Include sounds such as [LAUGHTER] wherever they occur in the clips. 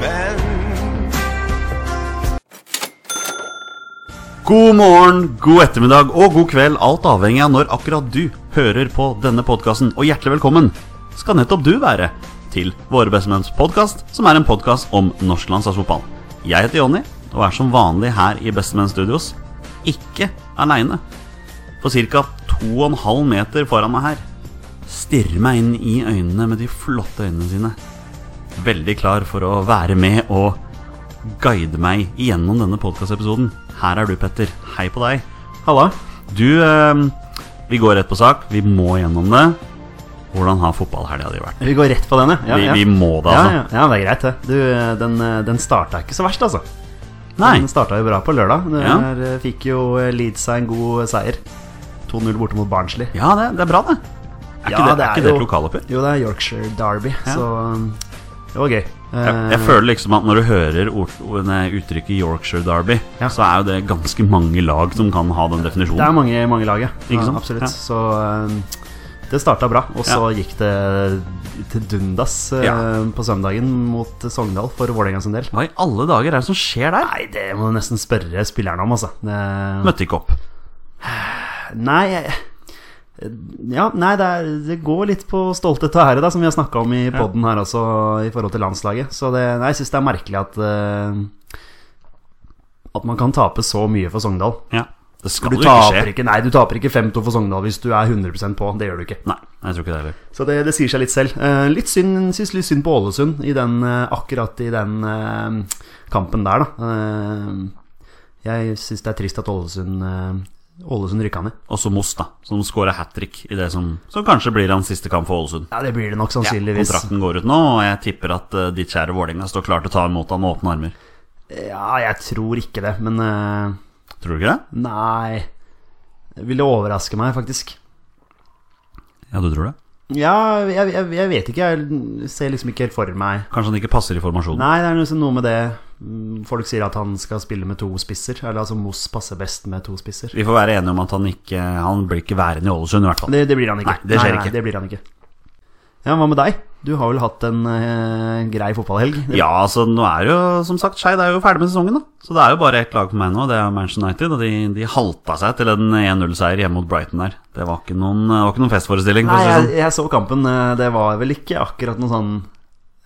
menn. God morgen, god ettermiddag og god kveld, alt avhengig av når akkurat du hører på denne podkasten. Og hjertelig velkommen skal nettopp du være til Våre bestemenns podkast, som er en podkast om norsk landslagsfotball. Jeg heter Jonny og er som vanlig her i Bestemenn Studios. Ikke aleine. For ca. 2,5 meter foran meg her stirrer meg inn i øynene med de flotte øynene sine. Veldig klar for å være med og guide meg gjennom denne podkastepisoden. Her er du, Petter. Hei på deg. Halla. Du, eh, vi går rett på sak. Vi må gjennom det. Hvordan har fotballhelga di vært? Vi går rett på den, ja. ja, Vi- ja. vi må det, altså. Ja, ja, ja, det er greit, det. Du, eh, den, eh, den starta ikke så verst, altså. Nei. Den starta jo bra på lørdag. Det Ja. her, eh, fikk jo eh, Leeds seg en god eh, seier. 2-0 borte mot Barnsley. Ja, det, det er bra, det. Er Ja, ikke det, det er er ikke det jo- et lokaloppgjør? Jo, det er Yorkshire Derby, Ja. så um, det var gøy. Jeg, jeg Eh, føler liksom at når du hører ord, ord- nei, uttrykket Yorkshire Derby, Ja. så er jo det ganske mange lag som kan ha den Det er definisjonen. mange, mange lag, ja. Ikke sant? Ja, Absolutt. Ja. Så um, det starta bra, og så gikk det til dundas eh, Ja. på søndagen mot Sogndal for Vålerenga sin del. Hva i alle dager er det som skjer der? Nei, det må du nesten spørre spillerne om, altså. Det, Møtte ikke opp. Nei jeg- ja, nei, det, er, det går litt på stolthet og ære, da, som vi har snakka om i poden her også, i forhold til landslaget. Så det, nei, jeg syns det er merkelig at eh, At man kan tape så mye for Sogndal. Ja. Det skal Du jo ikke skje. taper ikke, nei, du taper ikke 5-2 for Sogndal hvis du er 100 på. Det gjør du ikke. Nei, jeg tror ikke det heller. Så det, det sier seg litt selv. Eh, litt synd, synes litt synd på Ålesund i den, eh, akkurat i den eh, kampen der, da. Eh, jeg syns det er trist at Ålesund, eh, Ålesund rykka ned. Og så Moss, da, som scorer hat trick i det som, som kanskje blir hans siste kamp for Ålesund. Ja, det blir det nok Ja, sannsynligvis. Ja, kontrakten går ut nå, og jeg tipper at eh, ditt kjære Vålerenga står klar til å ta imot han med åpne armer. jeg tror ikke det, men eh, Tror du ikke det? nei Det ville overraske meg, faktisk. Ja, du tror det? Ja, jeg, jeg, jeg vet ikke. Jeg ser liksom ikke helt for meg Kanskje han ikke passer i formasjonen. Nei, det er liksom noe med det mm, Folk sier at han skal spille med to spisser. Eller altså Moss passer best med to spisser. Vi får være enige om at han ikke Han blir ikke værende i Ålesund, i hvert fall. Det, det blir han ikke. Nei, det skjer ikke. det blir han ikke. Ja, hva med deg? Du har vel hatt en eh, grei fotballhelg? Det- Ja, altså nå er jo som sagt Skeid er jo ferdig med sesongen, da. Så det er jo bare ett lag på meg nå, det er Manchester United. Og de, de halta seg til en 1-0-seier hjemme mot Brighton der. Det var ikke noen, det var ikke noen festforestilling, Nei, for å si det jeg, sånn. jeg så kampen. eh, Det var vel ikke akkurat noe sånn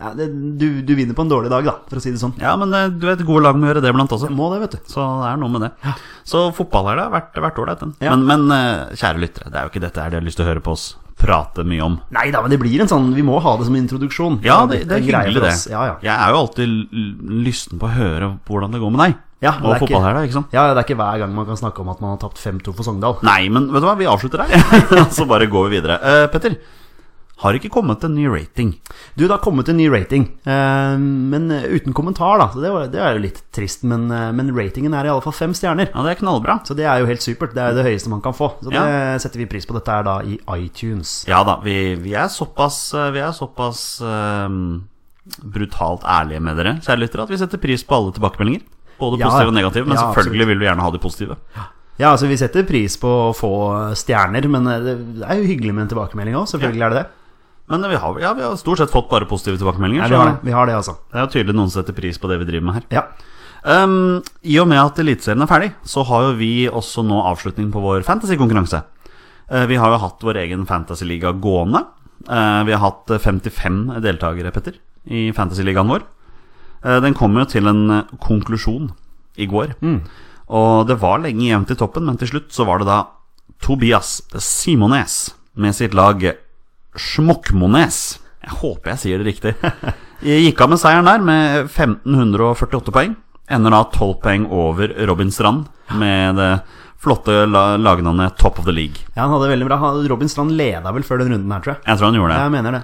ja, det, du, du vinner på en dårlig dag, da, for å si det sånn. Ja, men eh, du vet, gode lag må gjøre det blant også. Må det, vet du. Så det er noe med det. Så fotball her, det har vært- vært ålreit, den. Ja. Men, men eh, kjære lyttere, det er jo ikke dette her de har lyst til å høre på oss prate mye om. Nei da, men det blir en sånn Vi må ha det som introduksjon. Ja, det, det En er greie hyggelig, for det. oss. Ja, ja. Jeg er jo alltid l- lysten på å høre hvordan det går med deg. Ja, og men det er ikke- fotball her, da, ikke sant? ja, det er ikke hver gang man kan snakke om at man har tapt 5-2 for Sogndal. Nei, men vet du hva, vi avslutter [LAUGHS] her. Så bare går vi videre. Eh, Petter, har ikke kommet en ny rating. Du, det har kommet en ny rating, eh, men eh, uten kommentar, da. Så det, var, det er jo litt trist, men, eh, men ratingen er i alle fall fem stjerner. Ja, det er knallbra. Så det er jo helt supert. Det er jo det høyeste man kan få. Så Ja. det setter vi pris på. Dette er da i iTunes. Ja da, vi, vi er såpass, eh, vi er såpass eh, brutalt ærlige med dere, kjære lyttere, at vi setter pris på alle tilbakemeldinger. Både Ja. positive og negative, men Ja, selvfølgelig vil vi gjerne ha de positive. Ja, altså Vi setter pris på å få stjerner, men eh, det det er jo hyggelig med en tilbakemelding òg. Selvfølgelig er det det. Men eh, vi har, ja, vi har stort sett fått bare positive tilbakemeldinger. Nei, så vi, har det. vi har det, altså. Det er jo tydelig noen som setter pris på det vi driver med her. Ja. Ehm, I og med at Eliteserien er ferdig, så har jo vi også nå avslutning på vår fantasykonkurranse. Eh, vi har jo hatt vår egen fantasyliga gående. Eh, vi har hatt eh, 55 deltakere, Petter, i fantasyligaen vår. Eh, den kom jo til en eh, konklusjon i går. Og det var lenge jevnt i toppen, men til slutt så var det da Tobias Simones med sitt lag Smokkmones. Jeg håper jeg sier det riktig. [LAUGHS] Jeg Gikk av med seieren der med 1548 poeng. Ender da 12 poeng over Robin Strand med det flotte la- lagnavnet Top of the League. ja, han hadde det veldig bra. Han- Robin Strand leda vel før den runden her, tror jeg. Jeg tror han gjorde det. Jeg mener det.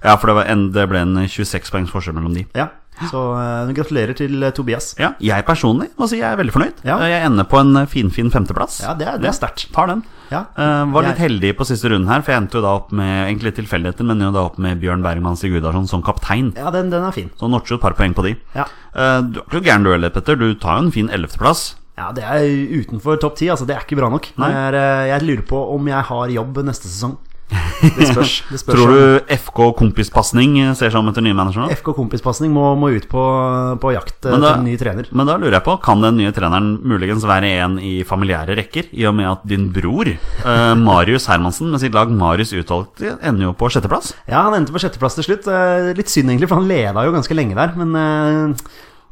Ja, for det, var en, det ble en 26 poengs forskjell mellom de. Ja. Så eh, gratulerer til eh, Tobias. Ja, jeg personlig må si jeg er veldig fornøyd. Ja. Jeg ender på en finfin femteplass. Ja, det er, det er sterkt. Tar den. Ja. Eh, var litt Jeg- heldig på siste runden her, for jeg endte jo da opp med egentlig litt tilfeldigheter, men jo da opp med Bjørn Bergman Sigurdarsson som kaptein. Ja, den, den er fin. Så notcher jo et par poeng på de. Ja. Eh, du er ikke så gæren du heller, Petter. Du tar jo en fin ellevteplass. Ja, Det er utenfor topp ti. Altså, det er ikke bra nok. Det Nei. [LAUGHS] er, eh, jeg lurer på om jeg har jobb neste sesong. Det spørs. Det spørs Tror om- du FK Kompispasning eh, ser seg om etter nye manager nå? FK kompispasning må, må ut på, på jakt eh, Men da- til en ny trener. Men da lurer jeg på, kan den nye treneren muligens være en i familiære rekker? I og med at din bror, eh, Marius Hermansen, med sitt lag Marius Utvalgte, ender jo på sjetteplass? Ja, han endte på sjetteplass til slutt. Eh, Litt synd egentlig, for han leda jo ganske lenge der. Men eh,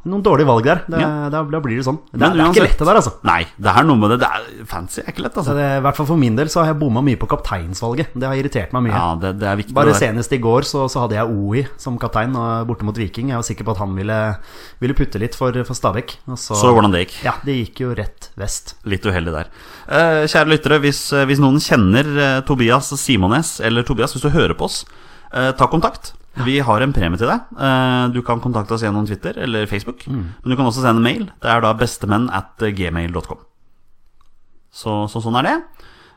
noen dårlige valg der. Det, Ja. da, da blir det sånn. Det, Men det er uansett- ikke lett det der, altså. Nei, det er noe med det. det er, fancy er ikke lett, Så altså. det, I hvert fall for min del så har jeg bomma mye på kapteinsvalget. Det har irritert meg mye. Ja, det, det er viktig. Bare det der. senest i går så, så hadde jeg OI som kaptein og borte mot Viking. Jeg var sikker på at han ville, ville putte litt for, for Stabæk. Og så, Så hvordan det gikk. Ja, det gikk jo rett vest. Litt uheldig der. Eh, kjære lyttere, hvis, eh, hvis noen kjenner eh, Tobias Simones, eller Tobias, hvis du hører på oss, eh, ta kontakt. Vi har en premie til deg. Eh, du kan kontakte oss gjennom Twitter eller Facebook. Men du kan også sende mail. Det er da bestemenn at eh, gmail.com. Så, så sånn er det.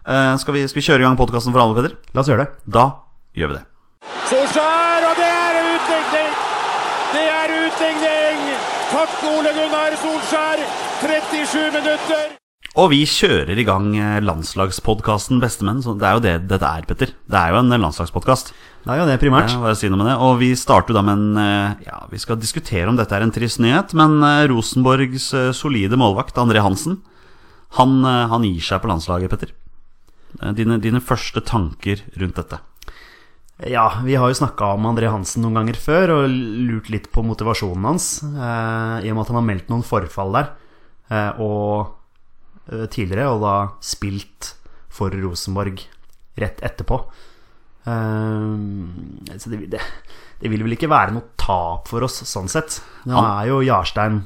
Eh, skal, vi, skal vi kjøre i gang podkasten for alle, Peder? La oss gjøre det. Da gjør vi det. Solskjær, og det er utligning! Det er utligning! Takk, Ole Gunnar Solskjær. 37 minutter. Og vi kjører i gang eh, landslagspodkasten Bestemenn. Så det er jo det dette er, Petter. Det er jo en landslagspodkast. Det er jo det primært. Ja, bare si noe med det. Og vi starter jo da med en eh, Ja, vi skal diskutere om dette er en trist nyhet, men eh, Rosenborgs eh, solide målvakt, André Hansen, han, eh, han gir seg på landslaget, Petter. Eh, Dine, dine første tanker rundt dette. Ja, vi har jo snakka om André Hansen noen ganger før og lurt litt på motivasjonen hans. Eh, I og med at han har meldt noen forfall der, eh, og eh, tidligere, og da spilt for Rosenborg rett etterpå. Eh, så det, det, det vil vel ikke være noe tap for oss sånn sett. Nå Han- er jo Jarstein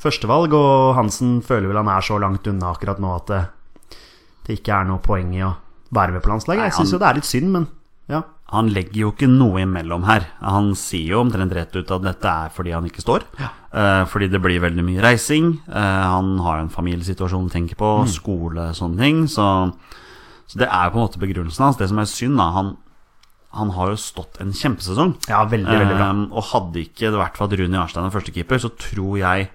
førstevalg, og Hansen føler vel han er så langt unna akkurat nå at det, det ikke er noe poeng i å være med på landslaget. Jeg Nei, syns han- jo det er litt synd, men ja. Han legger jo ikke noe imellom her. Han sier jo omtrent rett ut at dette er fordi han ikke står. Eh, fordi det blir veldig mye reising. Eh, han har en familiesituasjon å tenke Mm. på, skole og sånne ting. Så, så det er jo på en måte begrunnelsen hans. Det som er synd, da, han, han har jo stått en kjempesesong. Ja, veldig, veldig bra. Eh, og hadde ikke det vært for at Rune Jarstein er førstekeeper, så tror jeg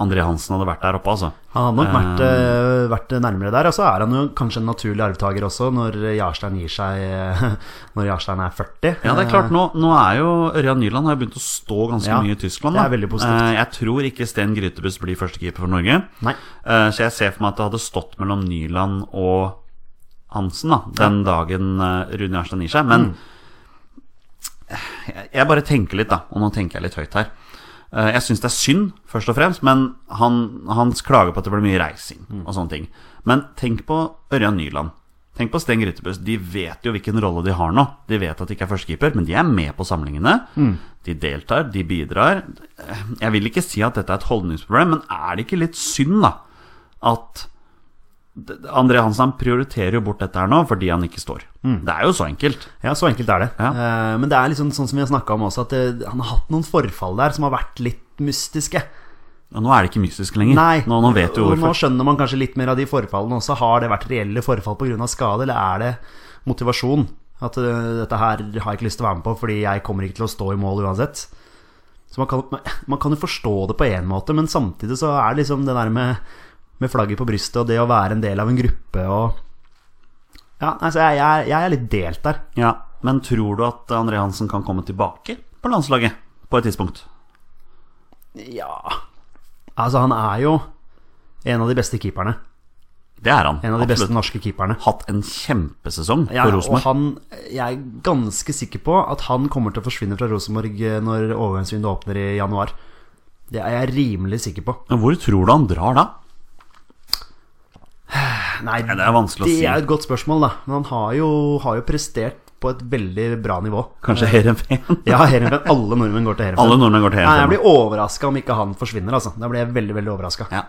André Hansen hadde vært der oppe, altså. Han hadde nok vært, eh, vært nærmere der. Og så er han jo kanskje en naturlig arvtaker også, når Jarstein gir seg [LAUGHS] eh, Når Jarstein er 40. Ja, det er klart, nå, nå er jo Ørjan Nyland har jo begynt å stå ganske Ja, mye i Tyskland. det Da. er veldig positivt. Eh, Jeg tror ikke Sten Grytebust blir førstekeeper for Norge. Eh, Nei. Eh, Så jeg ser for meg at det hadde stått mellom Nyland og Hansen da, den dagen eh, Rune Jarstein gir seg. Men Mm. jeg- jeg bare tenker litt, da. Og nå tenker jeg litt høyt her. Eh, Jeg syns det er synd, først og fremst, men han, han klager på at det blir mye reising Mm. og sånne ting. Men tenk på Ørjan Nyland. Tenk på Sten Grytebust. De vet jo hvilken rolle de har nå. De vet at de ikke er førstekeeper, men de er med på samlingene. Mm. De deltar, de bidrar. Jeg vil ikke si at dette er et holdningsproblem, men er det ikke litt synd, da? at d- André Hansen han prioriterer jo bort dette her nå fordi han ikke står. Mm. Det er jo så enkelt. Ja, så enkelt er det. Ja. Eh, Men det er liksom sånn som vi har snakka om også, at det, han har hatt noen forfall der som har vært litt mystiske. Og nå er det ikke mystisk [LAUGHS] lenger. Nei, Nå, nå vet du og nå hvorfor. skjønner man kanskje litt mer av de forfallene også. Har det vært reelle forfall pga. skade, eller er det motivasjon? At øh, dette her har jeg ikke lyst til å være med på fordi jeg kommer ikke til å stå i mål uansett. Så man kan, man- man kan jo forstå det på én måte, men samtidig så er det liksom det der med, med flagget på brystet og det å være en del av en gruppe og Ja, nei, så jeg, jeg, er- jeg er litt delt der. Ja, men tror du at André Hansen kan komme tilbake på landslaget på et tidspunkt? Ja Altså, han er jo en av de beste keeperne. Det er han. En av de beste absolutt. norske keeperne. Hatt en kjempesesong Ja, for og Rosenborg. han, jeg er ganske sikker på at han kommer til å forsvinne fra Rosenborg eh, når overgangsvinduet åpner i januar. Det er jeg rimelig sikker på. Men hvor tror du han drar da? Nei, det er vanskelig å si. Det er et godt spørsmål, da. Men han har jo, har jo prestert på et veldig bra nivå. Kanskje Heerenveen? Eh, [LAUGHS] Ja, Heerenveen. Alle nordmenn går til Alle Heerenveen. nordmenn går til Nei, jeg Heerenveen. blir overraska om ikke han forsvinner, altså. Da blir jeg veldig, veldig overraska. Ja.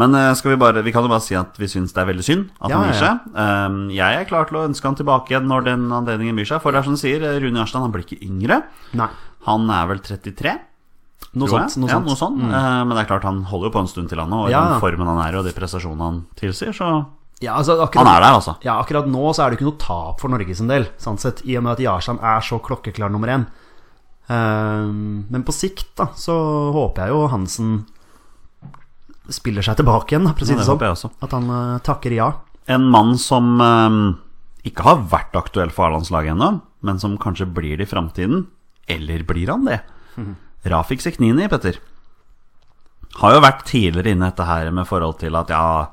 Men eh, skal vi, bare, vi kan jo bare si at vi syns det er veldig synd at Ja, han gir ja. seg. Ehm, jeg er klar til å ønske han tilbake igjen når den anledningen byr seg. For det er som du sier, eh, Rune Jarstein han blir ikke yngre. Nei, Han er vel 33? noe tror jeg. sånt. Noe ja, sånt. Mm. noe sånt. Eh, men det er klart han holder jo på en stund til, han nå. Og i Ja. den formen han er i, og de prestasjonene han tilsier, så Ja, altså, akkurat, Han er der, altså. Ja, akkurat nå så er det ikke noe tap for Norge sin del, sånn sett, i og med at Jarstein er så klokkeklar nummer én. Ehm, men på sikt da, så håper jeg jo Hansen spiller seg tilbake igjen, da, for å si Ja, det det sånn. håper jeg også. At han eh, takker ja. En mann som eh, ikke har vært aktuell for A-landslaget ennå, men som kanskje blir det i framtiden. Eller blir han det? Mhm. Rafik Sekhnini, Petter, har jo vært tidligere inne i dette her med forhold til at ja,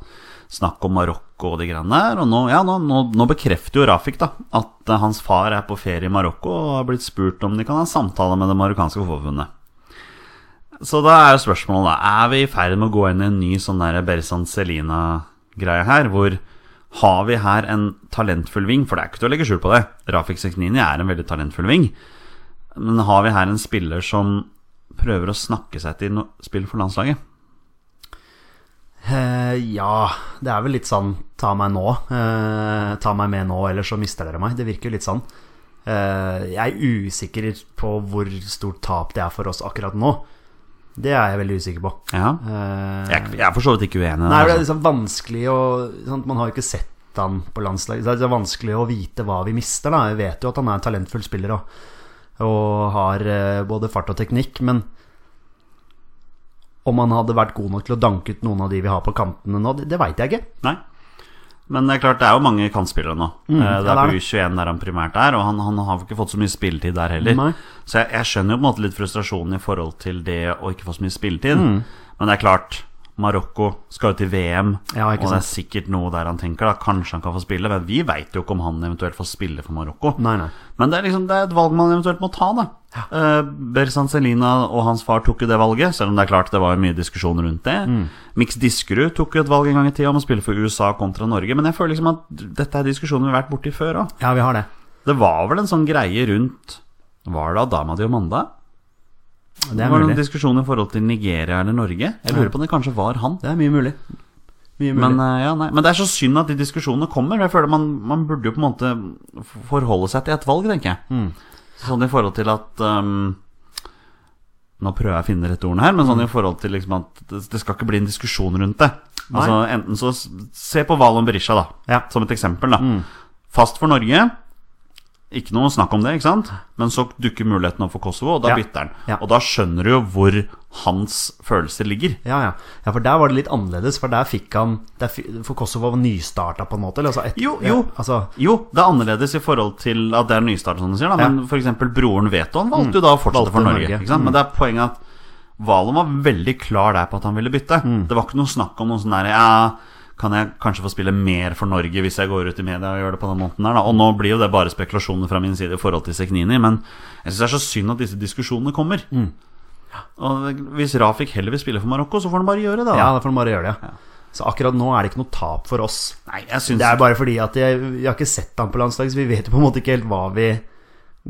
snakk om Marokko og de greiene der. Og nå, ja, nå, nå, nå bekrefter jo Rafik da at eh, hans far er på ferie i Marokko og har blitt spurt om de kan ha samtale med det marokkanske forbundet. Så da er jo spørsmålet da, er vi i ferd med å gå inn i en ny sånn der Berzan Celina-greie her, hvor har vi her en talentfull ving, for det er ikke til å legge skjul på det, Rafik Sekhnini er en veldig talentfull ving, men har vi her en spiller som prøver å snakke seg til no spill for landslaget? Eh, ja, det er vel litt sånn ta meg nå. eh, ta meg med nå, ellers så mister dere meg. Det virker jo litt sånn. Eh, jeg er usikker på hvor stort tap det er for oss akkurat nå. Det er jeg veldig usikker på. Ja, Eh, jeg, er ikke- jeg er for så vidt ikke uenig i det. Nei, det er altså. liksom vanskelig å sant, Man har jo ikke sett han på landslaget. så Det er vanskelig å vite hva vi mister. Da. Jeg vet jo at han er en talentfull spiller og, og har eh, både fart og teknikk, men om han hadde vært god nok til å danke ut noen av de vi har på kantene nå, det, det veit jeg ikke. Nei. Men det er klart, det er jo mange kantspillere nå. Mm, Eh, det ja, er det på er U21 der han primært er, og han, han har jo ikke fått så mye spilletid der heller. Nei. Så jeg, jeg skjønner jo på en måte litt frustrasjonen i forhold til det å ikke få så mye spilletid. Mm. Men det er klart, Marokko skal jo til VM, Ja, og ikke det er sikkert noe der han tenker. da Kanskje han kan få spille, men vi veit jo ikke om han eventuelt får spille for Marokko. Nei, nei. Men det er, liksom, det er et valg man eventuelt må ta, da. Eh, Berzan Celina og hans far tok jo det valget, selv om det er klart det var jo mye diskusjon rundt det. Mm. Mix Diskerud tok jo et valg en gang i tida om å spille for USA kontra Norge, men jeg føler liksom at dette er diskusjoner vi har vært borti før òg. Ja, vi har det. Det var vel en sånn greie rundt Var det Adama Diomanda? Det Det er var noen mulig. diskusjoner i forhold til Nigeria eller Norge. Jeg lurer Ja. på om det kanskje var han. Det er mye mulig. Mye mulig. Men, eh, ja, nei. men det er så synd at de diskusjonene kommer. Jeg føler Man, man burde jo på en måte forholde seg til et valg, tenker jeg. Mm. Sånn i forhold til at ehm, Nå prøver jeg å finne rett ordene her, men Mm. sånn i forhold til liksom at det, det skal ikke bli en diskusjon rundt det. Altså Enten så s- Se på Valon Berisha, da, Ja. Mm. som et eksempel. da Fast for Norge. Ikke noe snakk om det, ikke sant? Men så dukker muligheten opp for Kosovo, og da Ja. bytter han. Ja. Og da skjønner du jo hvor hans følelser ligger. eh, Ja, ja. ja, for der var det litt annerledes. For der fikk han der, fi- For Kosovo var nystarta, på en måte? Eller, altså, et, Jo, jo. Ja, altså, Jo, det er annerledes i forhold til at det er nystart, som du sier. Da. Men for eksempel broren Veton valgte jo da å fortsette Valgte for Norge. Norge. mm. Ikke sant? Men det er poenget at Valen var veldig klar der på at han ville bytte. Mm. Det var ikke noe snakk om noe sånn der ja, kan jeg kanskje få spille mer for Norge hvis jeg går ut i media og gjør det på den måten der, da? Og nå blir jo det bare spekulasjoner fra min side i forhold til Sekhnini, men jeg syns det er så synd at disse diskusjonene kommer. Mm. Og hvis Rafik heller vil spille for Marokko, så får han bare gjøre det, da. Ja, da får de bare gjøre det. Så akkurat nå er det ikke noe tap for oss. Nei, jeg syns Det er bare fordi at jeg, jeg har ikke sett han på landslaget, så vi vet jo på en måte ikke helt hva vi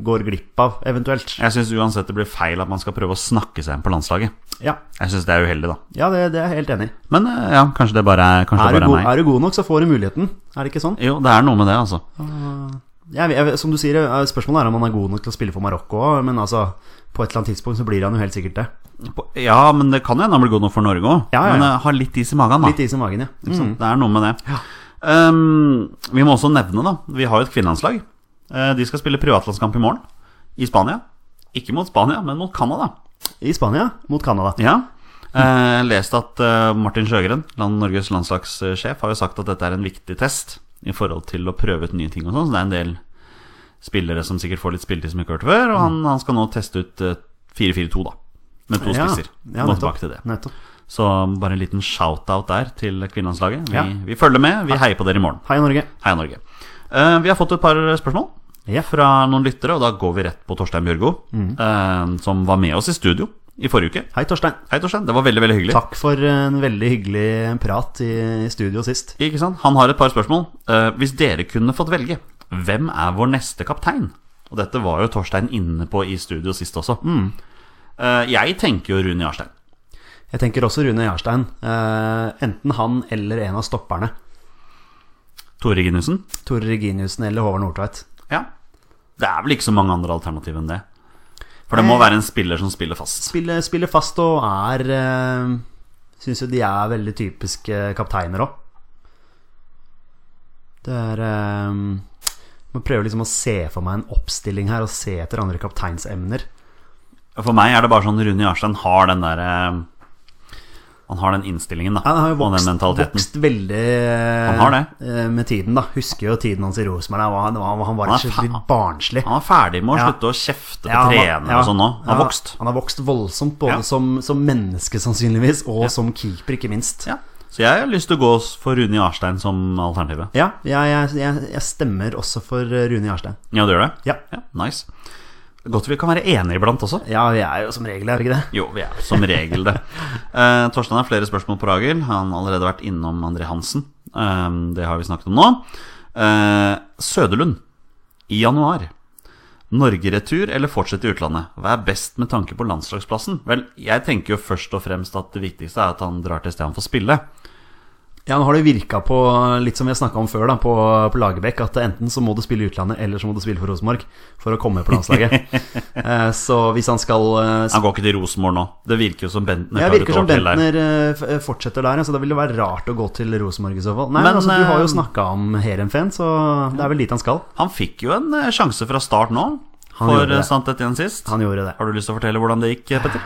går glipp av, eventuelt. Jeg syns uansett det blir feil at man skal prøve å snakke seg inn på landslaget. Ja, Jeg syns det er uheldig, da. ja det, det er jeg helt enig i. Men eh, ja, kanskje det bare er, kanskje Er, det du bare god- er meg. er du god nok, så får du muligheten. Er det ikke sånn? Jo, det er noe med det, altså. Jeg, jeg, som du sier, eh, Spørsmålet er om han er god nok til å spille for Marokko òg, men altså på et eller annet tidspunkt så blir han jo helt sikkert det. På- Ja, men det kan jo hende han blir god nok for Norge òg. Ja, ja, ja. Men eh, ha litt is i magen, da. Litt is i magen, ja. Ikke sant? Det er noe med det. Um, vi må også nevne, da. Vi har jo et kvinnelandslag. Eh, de skal spille privatlandskamp i morgen. I Spania. Ikke mot Spania, men mot Canada. Mm. I Spania mot Canada. Ja. Eh, lest at eh, Martin Sjøgren, land Norges landslagssjef, har jo sagt at dette er en viktig test i forhold til å prøve ut nye ting og sånn. Så det er en del spillere som sikkert får litt spilletid som ikke har hørt før, og han, han skal nå teste ut eh, 4-4-2, da. Med to spisser. Mm. Ja, Gå nettopp. tilbake til det. nettopp. Så bare en liten shout-out der til kvinnelandslaget. Vi, Ja. vi følger med, vi heier på dere i morgen. Hei, Norge. Hei, Norge. Eh, vi har fått et par spørsmål Ja. Mm. fra noen lyttere, og da går vi rett på Torstein Bjørgo, eh, som var med oss i studio i forrige uke. Hei, Torstein. Hei, Torstein. Det var veldig veldig hyggelig. Takk for en veldig hyggelig prat i i studio sist. Ikke sant? Han har et par spørsmål. Eh, hvis dere kunne fått velge, hvem er vår neste kaptein? Og dette var jo Torstein inne på i studio sist også. Mm. Eh, jeg tenker jo Rune Jarstein. Jeg tenker også Rune Jarstein. Eh, enten han eller en av stopperne. Tore Ginussen. Tore Reginiussen eller Håvard Nordtveit. Ja. Det er vel ikke så mange andre alternativ enn det. For det Eh. må være en spiller som spiller fast. Spiller, spiller fast og er eh, Syns jo de er veldig typiske kapteiner òg. Det er eh, Må prøve liksom å se for meg en oppstilling her og se etter andre kapteinsemner. For meg er det bare sånn Rune Jarstein har den derre eh, Han har den innstillingen, da. Han har og jo den vokst, mentaliteten. vokst veldig eh, Han har det. eh, med tiden, da. Husker jo tiden hans i Rosenborg. Han, var- han, var- han var Han er rett og slett fa- litt barnslig. Han er ferdig med å Ja. slutte å kjefte på Ja, han var- trenere ja, og sånn nå. Han har ja, vokst. Han har vokst voldsomt, både Ja. som, som menneske sannsynligvis, og som keeper, ikke minst. Ja. Så jeg har lyst til å gå for Rune Jarstein som alternativet. Ja, jeg, jeg, jeg, jeg stemmer også for eh, Rune Jarstein. Ja, du gjør det? Ja. ja nice. Godt vi kan være enige iblant også. Ja, vi er jo som regel, er vi ikke det? Jo, vi er som regel det. Eh, Torstein har flere spørsmål på Ragel. Han har allerede vært innom André Hansen. Eh, det har vi snakket om nå. Eh, Søderlund i januar. Norge-retur eller fortsette i utlandet? Hva er best med tanke på landslagsplassen? Vel, jeg tenker jo først og fremst at det viktigste er at han drar til stedet han får spille. Ja, nå har det virka på, litt som vi har snakka om før, da, på, på Lagerbäck, at enten så må du spille i utlandet, eller så må du spille for Rosenborg for å komme på [LAUGHS] landslaget. Eh, så hvis han skal eh, Han går ikke til Rosenborg nå. Det virker jo som Bentner Jeg tar et virker som år til der. Bentner eh, f- eh, fortsetter der, ja, så det ville være rart å gå til Rosenborg i så fall. Nei, Men, men, altså, Du har eh, jo snakka om Heerenveen, så det er vel dit han skal. Han fikk jo en eh, sjanse fra start nå, Han for gjorde det. Santet igjen sist. Han gjorde det. Har du lyst til å fortelle hvordan det gikk, eh, Petter?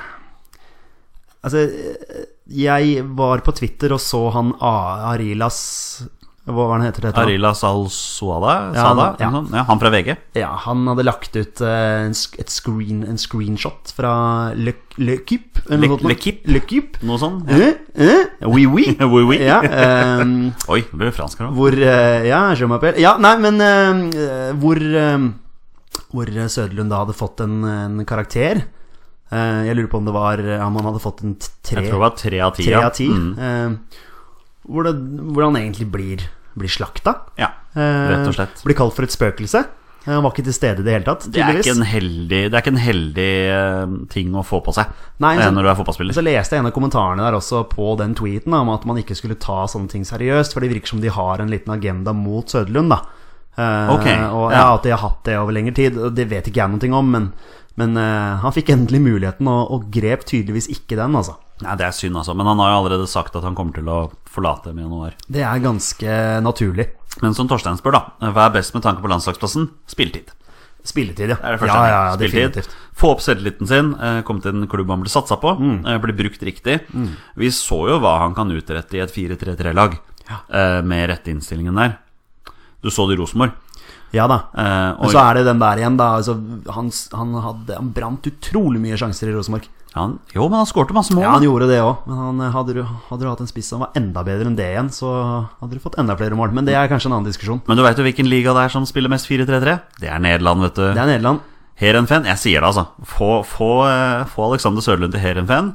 Altså, eh, jeg var på Twitter og så han A- Arilas Hva var han heter det? heter nå? Arila Salsuada? Ja, Sada? ja. Noe sånt. ja, han fra VG. Ja, han hadde lagt ut eh, en, sk- et screen, en screenshot fra Le, Le Kip. eller Le- noe sånt. Le Kip? Le Kip. Noe sånn? Ja. Eh, eh, oui, oui. [LAUGHS] Oui, oui. Ja, ehm, Oi, det ble fransk her nå. Hvor eh, Ja, je m'appelle Ja, nei, men eh, hvor eh, Hvor Søderlund da hadde fått en, en karakter. Eh, jeg lurer på om det var eh, Om han hadde fått en t- tre, Jeg tror det var tre av ti. tre ja. av ti. Mm. eh, hvor, det, hvor han egentlig blir, blir slakta. Ja, eh, rett og slett. Blir kalt for et spøkelse. Eh, Han var ikke til stede i det hele tatt, Det er tydeligvis. ikke en heldig, det er ikke en heldig eh, ting å få på seg Nei, eh, så- når du er fotballspiller. Så leste jeg en av kommentarene der også på den tweeten da, om at man ikke skulle ta sånne ting seriøst, for det virker som de har en liten agenda mot Søderlund, da. Eh, Ok, og ja, ja. At de har hatt det over lengre tid, og det vet ikke jeg noe om, men, men eh, han fikk endelig muligheten, og, og grep tydeligvis ikke den, altså. Nei, Det er synd, altså. Men han har jo allerede sagt at han kommer til å forlate med januar. Det er ganske naturlig. Men som Torstein spør, da. eh, Hva er best med tanke på landslagsplassen? Spilletid. Spilletid, ja. Det er det første. ja, ja, ja, Spilletid. definitivt. Få opp selvtilliten sin, eh, komme til en klubb han blir satsa på, Mm. eh, bli brukt riktig. Vi så jo hva han kan utrette i et 4-3-3-lag eh, med rette innstillingen der. Du så det i Rosenborg. Ja da. Eh, Men og så er det den der igjen, da. Altså, han, han, hadde, han brant utrolig mye sjanser i Rosenborg. han, jo, men han skårte masse mål. Ja, han da. gjorde det òg, men han, eh, hadde, du, hadde du hatt en spiss som var enda bedre enn det igjen, så hadde du fått enda flere mål. Men det er kanskje en annen diskusjon. men du veit jo hvilken liga det er som spiller mest 4-3-3? Det er Nederland, vet du. Det er Nederland. Heerenveen. Jeg sier det, altså. Få, få, eh, få Alexander Sørlund til Heerenveen.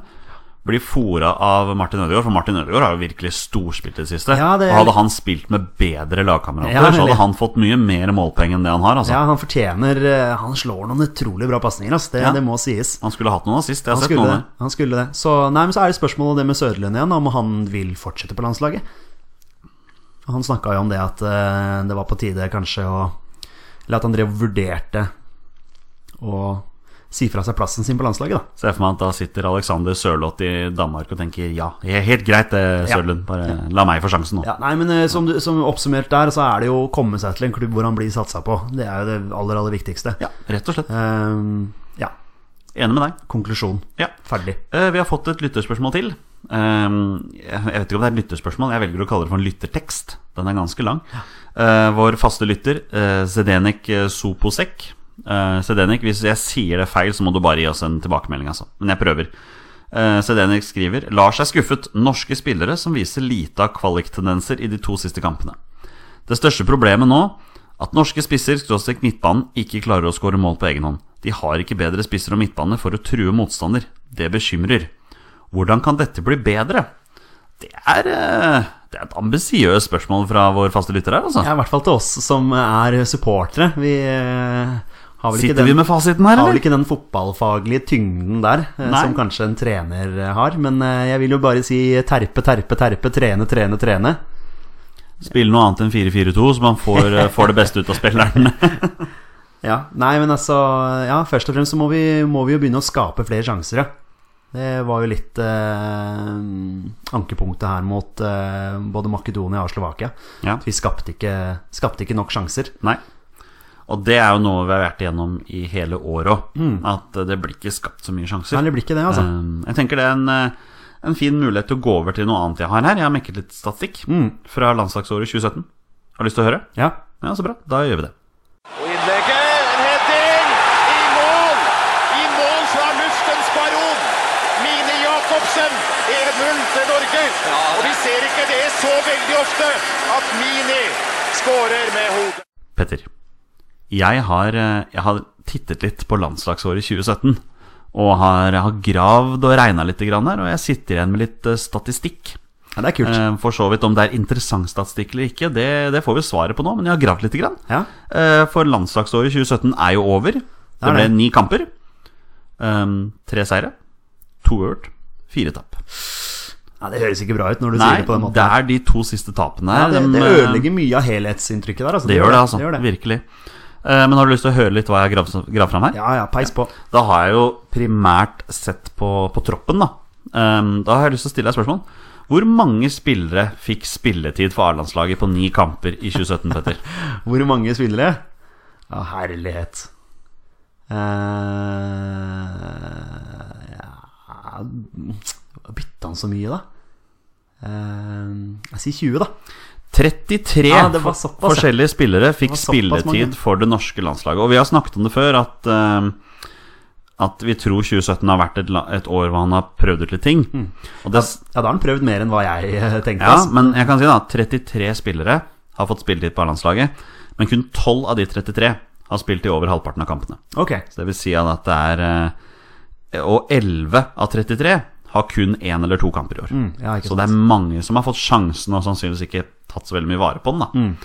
Blir fora av Martin Ødegaard, for Martin Ødegaard har jo virkelig storspilt i det siste. Ja, det- Og hadde han spilt med bedre lagkamerater, Ja, så eller- hadde han fått mye mer målpenger enn det han har. Altså. Ja, han fortjener eh, Han slår noen utrolig bra pasninger, ass. Det, Ja. det må sies. Han skulle hatt noen assist, jeg har Han sett skulle, noen. det. han skulle det. Så, nei, men så er det spørsmålet det med Søderlund igjen, om han vil fortsette på landslaget. Han snakka jo om det at eh, det var på tide kanskje å Eller at han drev og vurderte å si fra seg plassen sin på landslaget, da. Ser jeg for meg at da sitter Alexander Sørloth i Danmark og tenker ja, he- helt greit det, Sørlund, bare la meg få sjansen nå. Ja, nei, men eh, som, du, som oppsummert der, så er det jo å komme seg til en klubb hvor han blir satsa på. Det er jo det aller, aller viktigste. Ja, rett og slett. Ehm, ja. Enig med deg. Konklusjon. Ja. Ferdig. Eh, Vi har fått et lytterspørsmål til. Ehm, Jeg jeg vet ikke om det er et lytterspørsmål, jeg velger å kalle det for en lyttertekst. Den er ganske lang. Eh, Vår faste lytter, eh, Zdenek eh, Soposek. Eh, Zdenek, hvis jeg sier det feil, så må du bare gi oss en tilbakemelding, altså. Men jeg prøver. Eh, Zdenek skriver Lars er skuffet. Norske spillere som viser lite av kvaliktendenser i de to siste kampene. Det største problemet nå at norske spisser skråstrek midtbanen ikke klarer å skåre mål på egen hånd. De har ikke bedre spisser og midtbane for å true motstander. Det bekymrer. Hvordan kan dette bli bedre? Det er, eh, det er et ambisiøst spørsmål fra vår faste lytter her, altså. Ja, I hvert fall til oss som er supportere. Vi eh, har vel ikke Sitter den, vi med fasiten her, har vel eller? ikke den fotballfaglige tyngden der eh, Nei. som kanskje en trener eh, har. Men eh, jeg vil jo bare si terpe, terpe, terpe, trene, trene, trene. Spille noe annet enn 4-4-2, så man får, eh, får det beste ut av spilleren. [LAUGHS] Ja, Nei, men altså Ja, først og fremst så må vi, må vi jo begynne å skape flere sjanser, ja. Det var jo litt eh, ankepunktet her mot eh, både Makedonia og Slovakia. Ja. At Vi skapte ikke, skapte ikke nok sjanser. Nei. Og det er jo noe vi har vært igjennom i hele året òg. At eh, det blir ikke skapt så mye sjanser. Nei, Mm. det blir ikke det, altså. Eh, Jeg tenker det er en eh, en fin mulighet til å gå over til noe annet jeg har her. Jeg har mekket litt statistikk Mm. fra landslagsåret 2017. Har du lyst til å høre? Ja. Ja, så bra. Da gjør vi det. Og innlegget, en heading, i mål! I mål fra luftens baron, Mine Jacobsen. 1-0 til Norge. Og vi ser ikke det så veldig ofte at Mini skårer med hodet. Petter, jeg har, eh, jeg har tittet litt på landslagsåret 2017. Og har, jeg har gravd og regna litt, grann her, og jeg sitter igjen med litt eh, statistikk. ja, det er kult. Eh, For så vidt om det er interessant statistikk eller ikke, det, det får vi svaret på nå, men jeg har gravd litt. Grann. Ja. Eh, For landslagsåret 2017 er jo over. Det er ble det. ni kamper. Um, tre seire, to ørt, fire tap. Nei, det høres ikke bra ut når du Nei, sier det på den måten. det er de to siste tapene ja, her. det, dem, det eh, ødelegger mye av helhetsinntrykket der. Altså. det gjør det, altså. gjør det. Virkelig. Eh, Men har du lyst til å høre litt hva jeg har gravd- gravd fram her? Ja, ja, peis på. Da har jeg jo primært sett på, på troppen, da. Ehm, da har jeg lyst til å stille deg et spørsmål. Hvor mange spillere fikk spilletid for A-landslaget på ni kamper i 2017, [LAUGHS] Petter? Hvor mange spillere? Ja, herlighet. Eh, ja. Bytta han så mye, da? Eh, jeg sier 20, da. 33 Ja, det var for- såpass, ja. forskjellige spillere fikk Det var såpass mange. spilletid for det norske landslaget. Og vi har snakket om det før, at, ehm, at vi tror 2017 har vært et, la- et år hvor han har prøvd ut litt ting. Hmm. Og det, Ja, da har han prøvd mer enn hva jeg eh, tenkte. Ja, altså. men jeg kan si da at 33 spillere har fått spilletid på landslaget Men kun 12 av de 33 har spilt i over halvparten av kampene Ok, Så det vil si at det er eh, Og 11 av 33 har kun én eller to kamper i år ja, Mm, ikke Så det er mange som har fått sjansen Og sannsynligvis ikke tatt så veldig mye vare på den da Mm.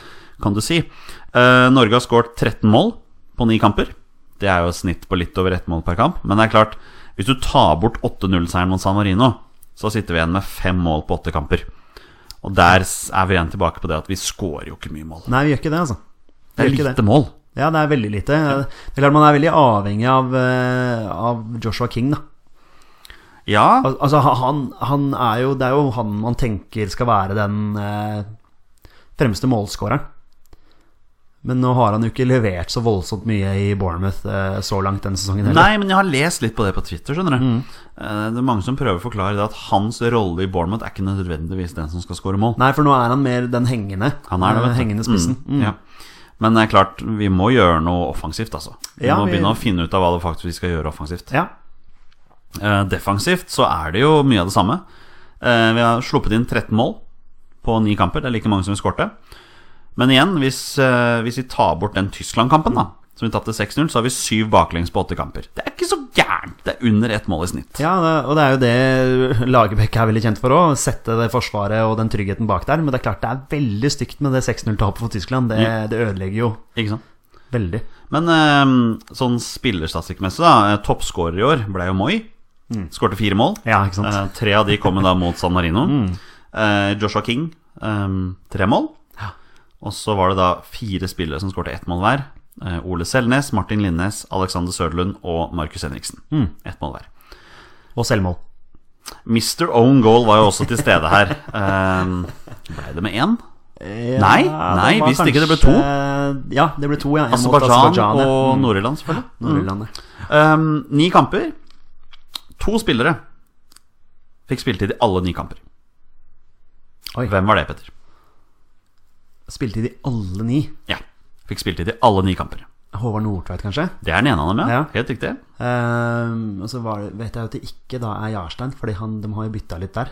Kan du si Eh, Norge har skåret 13 mål på 9 kamper Det er jo et snitt på litt over ett mål per kamp Men det er klart Hvis du tar bort 8-0-seieren mot San Marino Så sitter vi igjen med 5 mål på 8 kamper og der s- er vi igjen tilbake på det at vi skårer jo ikke mye mål. Nei, vi gjør ikke det, altså. Det Vi er gjør ikke lite mål. Ja, det er veldig lite. Det er klart Man er veldig avhengig av, eh, av Joshua King, da. Ja, Al altså, han, han er jo, det er jo han man tenker skal være den eh, fremste målskåreren. Men nå har han jo ikke levert så voldsomt mye i Bournemouth eh, så langt denne sesongen heller. Nei, men jeg har lest litt på det på Twitter, skjønner Mm. du. Eh, Det er mange som prøver å forklare det at hans rolle i Bournemouth er ikke nødvendigvis den som skal skåre mål. Nei, for nå er han mer den hengende, Han er det, eh, vet du. hengende spissen. Mm, Ja. Men det er klart, vi må gjøre noe offensivt, altså. Vi Ja, må vi- begynne å finne ut av hva det faktisk vi skal gjøre offensivt. Ja. Eh, Defensivt så er det jo mye av det samme. Eh, Vi har sluppet inn 13 mål på ni kamper. Det er like mange som vi skårte. Men igjen, hvis, eh, hvis vi tar bort den Tyskland-kampen, da som vi tapte 6-0, så har vi syv baklengs på åtte kamper. Det er ikke så gærent! Det er under ett mål i snitt. ja, det- og det er jo det Lagerbäck er veldig kjent for òg. Sette det forsvaret og den tryggheten bak der. Men det er klart det er veldig stygt med det 6-0-tapet for Tyskland. Det, Ja. det ødelegger jo Ikke sant? veldig. Men eh, sånn spillerstatistikkmessig, da. eh, Toppskårer i år ble jo Moi. Skårte fire mål. Mm. Ja, ikke sant. Mm. Eh, tre av de kom jo da mot San Marino. Eh, Joshua King, eh, tre mål. Og så var det da fire spillere som skårte ett mål hver. Eh, Ole Selnes, Martin Linnes, Alexander Sørlund og Markus Henriksen. Mm. Ett mål hver. Eh, Og selvmål. Mr. Own Goal var jo også til stede her. Eh, Blei det med én? Nei, nei, hvis ikke det ble to. Ja, det ble to, ja. En mot Aserbajdsjan Aserbajdsjan, ja. Mm. og Mm. Nord-Irland, selvfølgelig. Nord-Irland, ja. Um, ni kamper. To spillere fikk spilletid i alle ni kamper. Oi. Hvem var det, Petter? Spilte de alle ni? Ja, fikk spilletid i alle ni kamper. Håvard Nordtveit, kanskje? Det er den ene av dem, ja. Ja. Helt riktig. Ehm, og så var, det- vet jeg jo at det ikke da er Jarstein, fordi han, de har jo bytta litt der.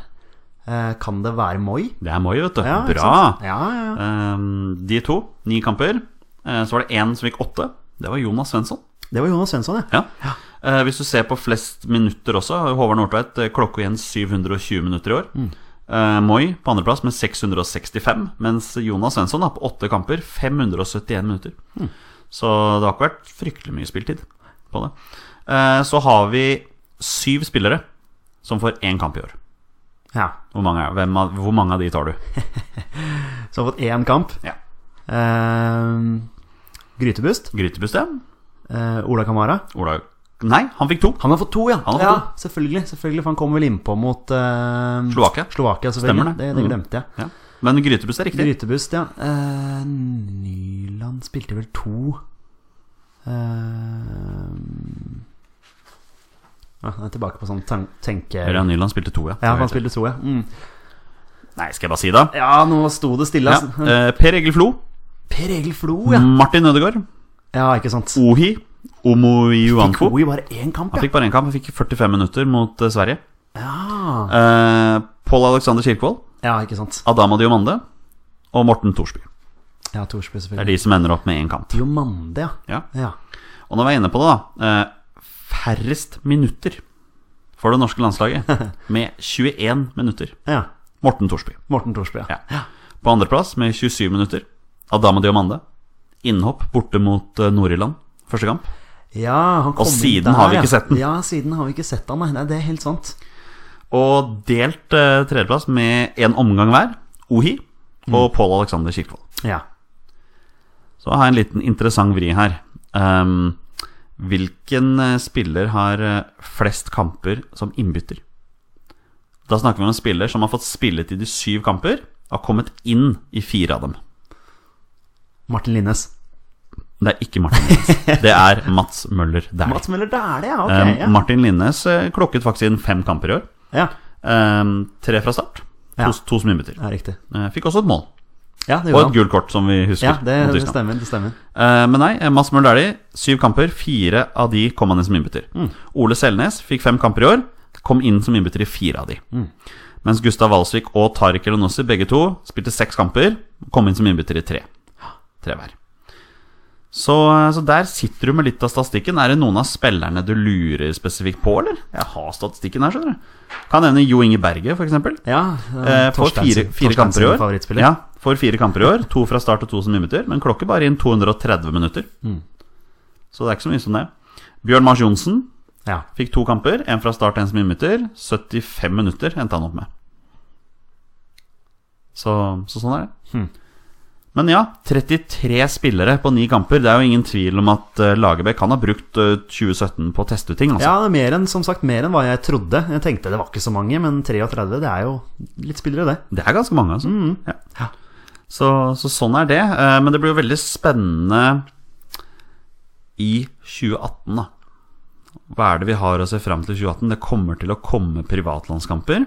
Eh, kan det være Moi? Det er Moi, vet du. Ja, ikke Bra. sant? Ja, ja, ja. Um, de to, ni kamper. Eh, så var det én som fikk åtte. Det var Jonas Svensson. Det var Jonas Svensson, ja. Ja. Eh, hvis du ser på flest minutter også, Håvard Nordtveit eh, klokka igjen 720 minutter i år. Mm. Eh, Moi på andreplass med 665, mens Jonas Svensson da, på åtte kamper 571 minutter. Mm. Så det har ikke vært fryktelig mye spiltid på det. Eh, så har vi syv spillere som får én kamp i år. ja. Hvor mange, er, hvem av, hvor mange av de tar du? Så har fått én kamp. Ja. Ehm, Grytebust. Grytebust, ja. Eh, Ola Kamara. Ola Nei, han fikk to. Han har fått to, ja. Han har ja fått Selvfølgelig, selvfølgelig, for han kom vel innpå mot eh, Slovakia. Slovakia selvfølgelig. Stemmer det. det. Det, Mm. glemte jeg. Ja. Men Grytebust er riktig. Grytebust, ja. Eh, Nyland spilte vel to eh, Ja, jeg er tilbake på sånn ten tenke... Ørjan Nyland spilte to, ja. Ja, han spilte to, ja. Mm. Nei, skal jeg bare si det? Ja, nå sto det stille. Ja. Mm. altså. eh, Per Egil Flo, Per Egil Flo, ja. Martin Ødegaard, Ja, ikke sant. Ohi, Omoiuanfo. Fikk i bare én kamp, Han ja. fikk bare én kamp, han fikk 45 minutter mot eh, Sverige. ja. Eh, Pål Alexander Kirkvold, Ja, ikke sant. Adama Diomande og Morten Thorsby. Ja, Thorsby, Det selvfølgelig. er de som ender opp med én kamp. Diomande, ja. Ja. ja. Og når vi er inne på det, da eh, Færrest minutter for det norske landslaget, med 21 minutter. Ja. Morten Thorsby. Morten Thorsby, ja. Ja. På andreplass med 27 minutter, Adama Diomande. Innhopp borte mot eh, Nord-Irland, første kamp. ja han kom Og inn siden der, har vi ja. ikke sett den. Ja, siden har vi ikke sett han, nei. nei. Det er helt sant. Og delt eh, tredjeplass med én omgang hver, Ohi Mm. og Pål Alexander Kirkvold. Ja. Så har jeg en liten interessant vri her. Ehm, hvilken eh, spiller har eh, flest kamper som innbytter? Da snakker vi om en spiller som har fått spilletid i syv kamper, og har kommet inn i fire av dem. Martin Linnes. Det er ikke Martin [LAUGHS] Linnes, det er Mats Møller Dæhlie. Mats Møller, det er det, ja. Ok, Ehm, ja. Martin Linnes eh, klokket faktisk inn fem kamper i år. ja. Ehm, tre fra start, to, Ja. to som innbytter. Ja, riktig. Eh, fikk også et mål, Ja, det og gjorde et han. gult kort, som vi husker. Ja, det, mot det Tyskland. stemmer. det stemmer Eh, Men nei, eh, Mads Møller Dæhlie, syv kamper. Fire av de kom han inn som innbytter. Mm. Ole Selnes fikk fem kamper i år. Kom inn som innbytter i fire av de. Mm. Mens Gustav Walsvik og Tariq Elonossi, begge to, spilte seks kamper. Kom inn som innbytter i tre. Tre hver. Så, eh, så der sitter du med litt av statistikken. Er det noen av spillerne du lurer spesifikt på, eller? Jeg har statistikken her, skjønner du. Kan nevne Jo Inge Berge, f.eks. Ja, Mm, Eh, får fire, fire kamper i år. Favorittspiller. Ja, får fire kamper i år. To fra start og to som minutter. Men klokker bare inn 230 minutter. Så det er ikke så mye som det. Bjørn Mars Johnsen Ja. fikk to kamper. Én fra start, én som minutter. 75 minutter endte han opp med. Så, så sånn er det. Men ja, 33 spillere på ni kamper. Det er jo ingen tvil om at eh, Lagerbäck kan ha brukt eh, 2017 på å teste ut ting. Altså. Ja, det er mer enn, som sagt, mer enn hva jeg trodde. Jeg tenkte det var ikke så mange, men 33 det er jo litt spillere, det. Det er ganske mange, altså. Ja. Så, så sånn er det. Eh, Men det blir jo veldig spennende i 2018, da. Hva er det vi har å se fram til 2018? Det kommer til å komme privatlandskamper.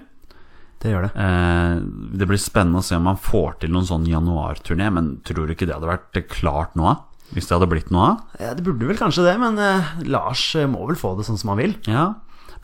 Det gjør det. Eh, Det blir spennende å se om man får til noen sånn januarturné, men tror du ikke det hadde vært klart nå? Hvis det hadde blitt noe av? Eh, Det burde vel kanskje det, men eh, Lars eh, må vel få det sånn som han vil. Ja.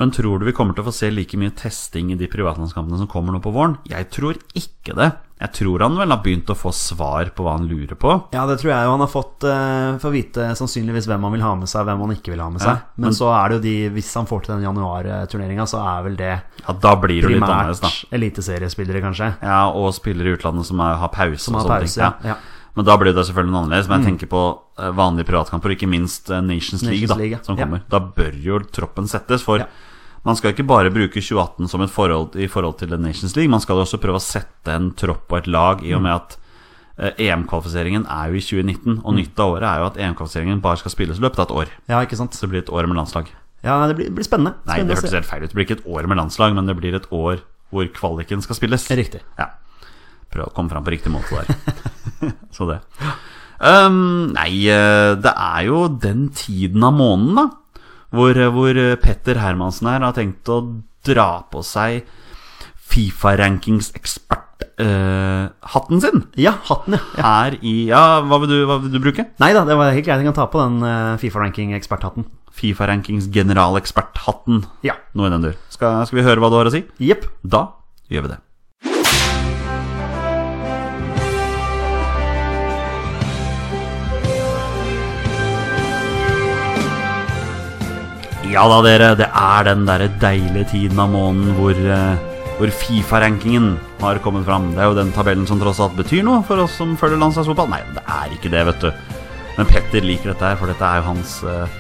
Men tror du vi kommer til å få se like mye testing i de privatlandskampene som kommer nå på våren? Jeg tror ikke det. Jeg tror han vel har begynt å få svar på hva han lurer på. Ja, det tror jeg jo han har fått eh, for å vite sannsynligvis hvem han vil ha med seg, hvem han ikke vil ha med seg. Ja, men, men- så er det jo de, hvis han får til den januarturneringa, så er vel det Ja, da blir det litt annerledes, primært da. eliteseriespillere, kanskje. Ja, og spillere i utlandet som er, har pause. Som og har sånne pause, ting. ja. ja. Mm. Men da blir det selvfølgelig noe annerledes. Men jeg tenker på eh, vanlige privatkamper, og ikke minst eh, Nations League, da, Nations League, ja. som Ja. kommer. Da bør jo troppen settes, for Ja. man skal ikke bare bruke 2018 som et forhold i forhold til Nations League, man skal jo også prøve å sette en tropp og et lag, i og Mm. med at eh, EM-kvalifiseringen er jo i 2019, Mm. og nytt av året er jo at EM-kvalifiseringen bare skal spilles i løpet av et år. ja, ikke sant. Så det blir et år med landslag. Ja, det blir, blir spennende. Nei, det Spennende å hørtes se. helt feil ut. Det blir ikke et år med landslag, men det blir et år hvor kvaliken skal spilles. Riktig. Ja. Prøv å komme fram på riktig måte der. [LAUGHS] Så det. Ehm, nei, eh, det er jo den tiden av måneden, da. Hvor, eh, hvor Petter Hermansen her har tenkt å dra på seg Fifa-rankings-ekspert-hatten eh, sin. Ja, hatten, ja. ja. Her i Ja, hva vil du, hva vil du bruke? Nei da, det var helt greit. Jeg kan ta på den eh, Fifa-ranking-eksperthatten. Fifa-rankings-generalekspert-hatten. Ja. Noe i den dur. Skal, skal vi høre hva du har å si? Jepp. Da gjør vi det. Ja da, dere. Det er den derre deilige tiden av måneden hvor, eh, hvor Fifa-rankingen har kommet fram. Det er jo den tabellen som tross alt betyr noe for oss som følger landslagsfotball. Nei, det er ikke det, vet du. Men Petter liker dette her, for dette er jo hans eh,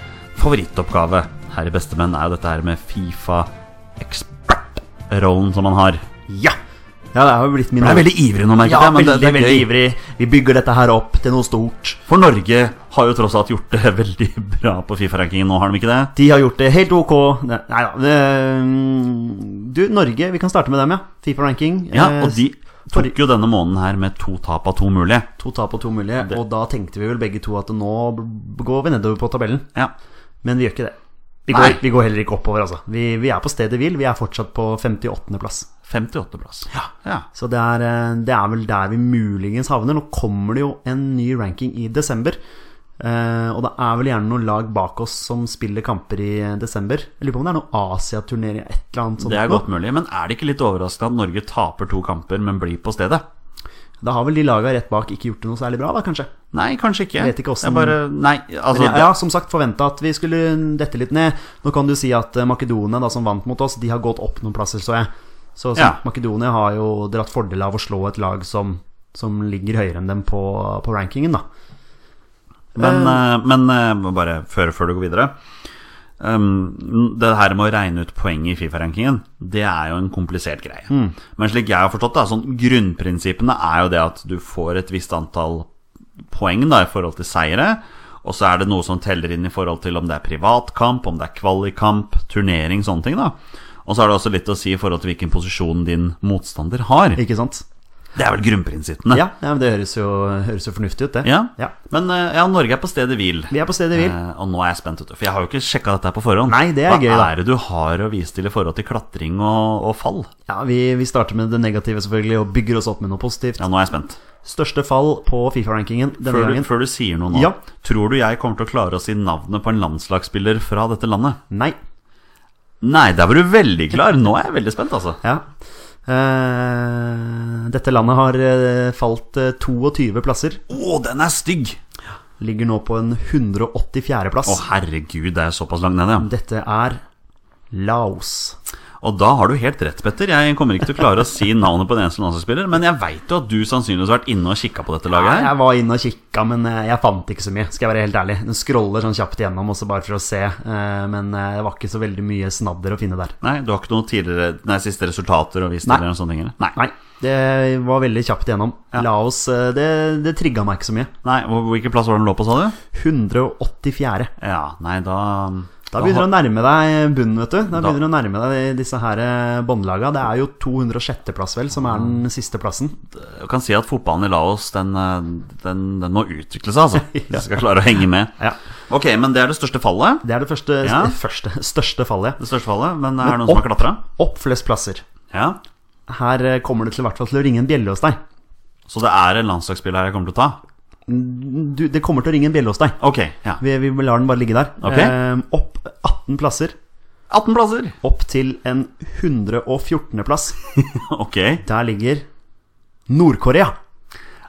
favorittoppgave her i Bestemenn. Er jo dette her med Fifa-ekspertrollen som han har. Ja! Ja, det har jo blitt min Jeg er veldig ivrig nå, merket ja, jeg. Men veldig, det, det er veldig gøy. ivrig. Vi bygger dette her opp til noe stort. For Norge har jo tross alt gjort det [LAUGHS] veldig bra på Fifa-rankingen nå, har de ikke det? De har gjort det helt ok. Nei nei da. det- Du, Norge. Vi kan starte med dem, ja. Fifa-ranking. Ja, Eh, og de tok jo denne måneden her med to tap av to mulige. To tap og to mulige. Og da tenkte vi vel begge to at nå b- går vi nedover på tabellen. Ja. Men vi gjør ikke det. Vi Nei. går, vi går heller ikke oppover, altså. Vi, vi er på stedet hvil. Vi er fortsatt på 58.-plass. 58.-plass. Ja. Så det er, eh, det er vel der vi muligens havner. Nå kommer det jo en ny ranking i desember. Eh, og det er vel gjerne noen lag bak oss som spiller kamper i eh, desember. Jeg lurer på om det er noen Asia-turnering et eller annet sånt. Det er nå. godt mulig. Men er det ikke litt overraskende at Norge taper to kamper, men blir på stedet? Da har vel de laga rett bak ikke gjort det noe særlig bra, da, kanskje. Nei, kanskje ikke. Jeg vet ikke Jeg hvordan- bare Nei, altså Men jeg har som sagt forventa at vi skulle dette litt ned. Nå kan du si at eh, Makedonia, da, som vant mot oss, de har gått opp noen plasser, så jeg. Så, så Ja. Makedonia har jo dratt fordel av å slå et lag som, som ligger høyere enn dem på, på rankingen, da. Men, eh, men eh, må bare før, før du går videre um, Det her med å regne ut poeng i Fifa-rankingen, det er jo en komplisert greie. Mm. Men slik jeg har forstått det, er sånn grunnprinsippene er jo det at du får et visst antall poeng da, i forhold til seire. Og så er det noe som teller inn i forhold til om det er privatkamp, om det er kvalikamp, turnering, sånne ting. da Og så er det også litt å si i forhold til hvilken posisjon din motstander har. Ikke sant? Det er vel grunnprinsippene. Ja, ja men det høres jo, høres jo fornuftig ut, det. Ja. Men eh, ja, Norge er på stedet hvil. Vi er på stedet vi vil. Eh, og nå er jeg spent, vet du, for jeg har jo ikke sjekka dette her på forhånd. Nei, det er Hva gøy, da. er det du har å vise til i forhold til klatring og, og fall? Ja, vi, vi starter med det negative, selvfølgelig, og bygger oss opp med noe positivt. Ja, nå er jeg spent. Største fall på Fifa-rankingen denne Før du, gangen. før du sier noe nå, Ja. tror du jeg kommer til å klare å si navnet på en landslagsspiller fra dette landet? Nei. Nei, der var du veldig klar. Nå er jeg veldig spent, altså. Ja. Eh, dette landet har eh, falt eh, 22 plasser. Å, den er stygg! Ligger nå på en 184. plass. Å, herregud, det er såpass langt nede, ja. Dette er Laos. Og da har du helt rett, Petter. Jeg kommer ikke til å klare å si navnet på en eneste landslagsspiller, men jeg veit jo at du sannsynligvis har vært inne og kikka på dette laget her. Jeg var inne og kikka, men eh, jeg fant ikke så mye. Skal jeg være helt ærlig. Den scroller sånn kjapt igjennom, også bare for å se. eh, Men eh, det var ikke så veldig mye snadder å finne der. Nei, du har ikke noen tidligere, nei, siste resultater å vise til? Nei. eller noen sånne ting, eller? Nei. Nei, det var veldig kjapt igjennom. Ja. Laos, eh, det, det trigga meg ikke så mye. Nei, hvor- Hvilken plass var den lå på, sa du? 184. Ja, nei, da Da begynner du å har- nærme deg bunnen, vet du. Da- Da begynner du å nærme deg disse her eh, båndlaga. Det er jo 206. plass, vel, som er Mm. den siste plassen. Jeg kan si at fotballen i Laos, den, eh, den, den må utvikle seg, [LAUGHS] altså. Hvis vi skal klare å henge med. Ja. Ok, men det er det største fallet. Det er det første, Ja. [LAUGHS] første største fallet. Det største fallet, men eh, er det noen som har opp, klatra? opp flest plasser. Ja. Her eh, kommer det til, i hvert fall til å ringe en bjelle hos deg. Så det er en landslagsspiller her jeg kommer til å ta? Du, det kommer til å ringe en bjelle hos deg. Ok, ja. Vi, vi lar den bare ligge der. Ok. Eh, opp 18 plasser. 18 plasser! [LAUGHS] Opp til en 114. plass. Ok. Der ligger Nord-Korea.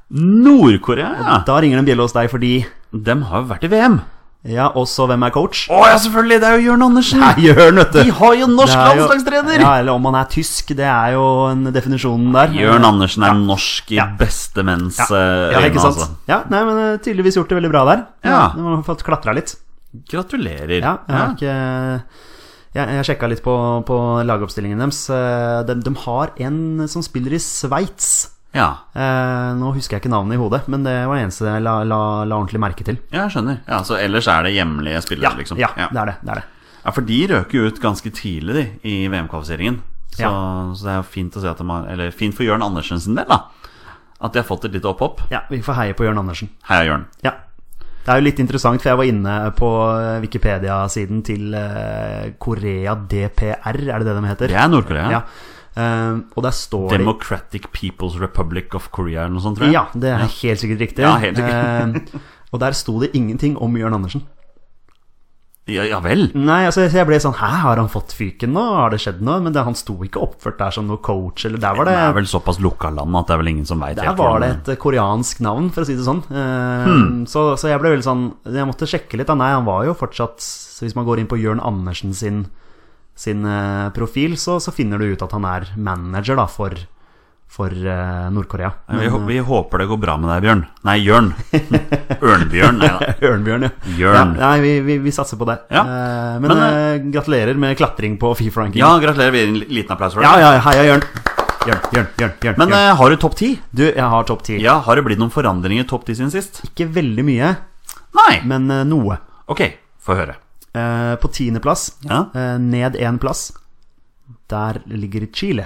Nord-Korea, ja. Da ringer det en bjelle hos deg fordi Dem har jo vært i VM. Ja, også hvem er coach? Å ja, selvfølgelig! Det er jo Jørn Andersen! Jørn, vet De har jo norsk Det er jo- landslagstrener! Ja, eller om han er tysk, det er jo en definisjonen der. Jørn Andersen er norsk i Ja. beste menns Ja. eh, Ja, øyne, ikke sant? altså. Ja, nei, men eh, tydeligvis gjort det veldig bra der. Ja. Du har fått klatra litt. Gratulerer. Ja, jeg har ikke Jeg, jeg sjekka litt på, på lagoppstillingen deres. Eh, De, de har en som spiller i Sveits. ja. Eh, nå husker jeg ikke navnet i hodet, men det var det eneste jeg la, la, la ordentlig merke til. Ja, jeg skjønner. Ja, så ellers er det hjemlige spillere, liksom. ja, ja. det er det. det, er det. Ja, for de røk jo ut ganske tidlig de, i VM-kvalifiseringen. Så, så det er jo fint å se at de har Eller fint for Jørn Andersen sin del, da. At de har fått et lite opphopp. Ja, Vi får heie på Jørn Andersen. Heia Jørn. Ja. Det er jo litt interessant, for jeg var inne på eh, Wikipedia-siden til eh, Korea DPR, er det det de heter? Det er Nord-Korea. Ja. Eh, og der står det Democratic People's Republic of Korea eller noe sånt, tror jeg. Ja, det er helt sikkert riktig. Ja, helt sikkert. Eh, og der sto det ingenting om Jørn Andersen. Ja, ja vel. Nei, altså jeg ble sånn Hæ, har han fått fyken nå? Har det skjedd noe? Men det, han sto ikke oppført der som noe coach, eller der var Det er det vel såpass lukka land at det er vel ingen som veit der var det et eh, koreansk navn, for å si det sånn. Eh, så, så jeg ble veldig sånn Jeg måtte sjekke litt. Da. Nei, han var jo fortsatt så Hvis man går inn på Jørn Andersen sin, sin eh, profil, så, så finner du ut at han er manager da, for, for eh, Nord-Korea. [LAUGHS] vi, hå- vi håper det går bra med deg, Bjørn. Nei, Jørn. Ørnbjørn. Nei da. Ørnbjørn, ja. Jørn. Ja, nei, vi, vi, vi satser på det. Ja. Eh, men Men, eh, gratulerer med klatring på Fifa-ranking. Ja, gratulerer. Vi gir en liten applaus for det. ja, ja, heia Jørn. Jørn, Jørn, Jørn. Jørn, Men Jørn. eh, har du topp ti? Du, jeg har topp ti. Ja, har det blitt noen forandringer i topp ti siden sist? Ikke veldig mye, Nei. men eh, noe. Ok, få høre. Eh, på tiendeplass, Ja. eh, ned én plass, der ligger Chile.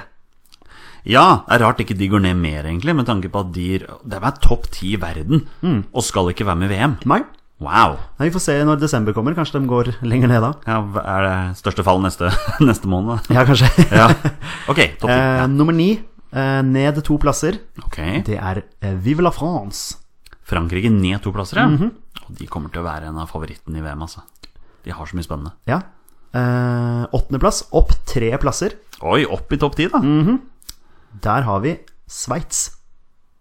Ja, det er rart ikke de går ned mer, egentlig, med tanke på at de De er topp ti i verden og skal ikke være med i VM. Nei, Wow. Nei, Vi får se når desember kommer. Kanskje de går lenger ned da. Ja, hva er det største fall neste, [LAUGHS] neste måned? Ja, kanskje. [LAUGHS] Ja. Ok, topp ti. [LAUGHS] eh, nummer ni, eh, ned to plasser, Ok. det er eh, Vive la France. Frankrike ned to plasser, ja. Og de kommer til å være en av favorittene i VM, altså. De har så mye spennende. Ja. Eh, Åttendeplass, opp tre plasser. Oi, opp i topp ti, da. Der har vi Sveits.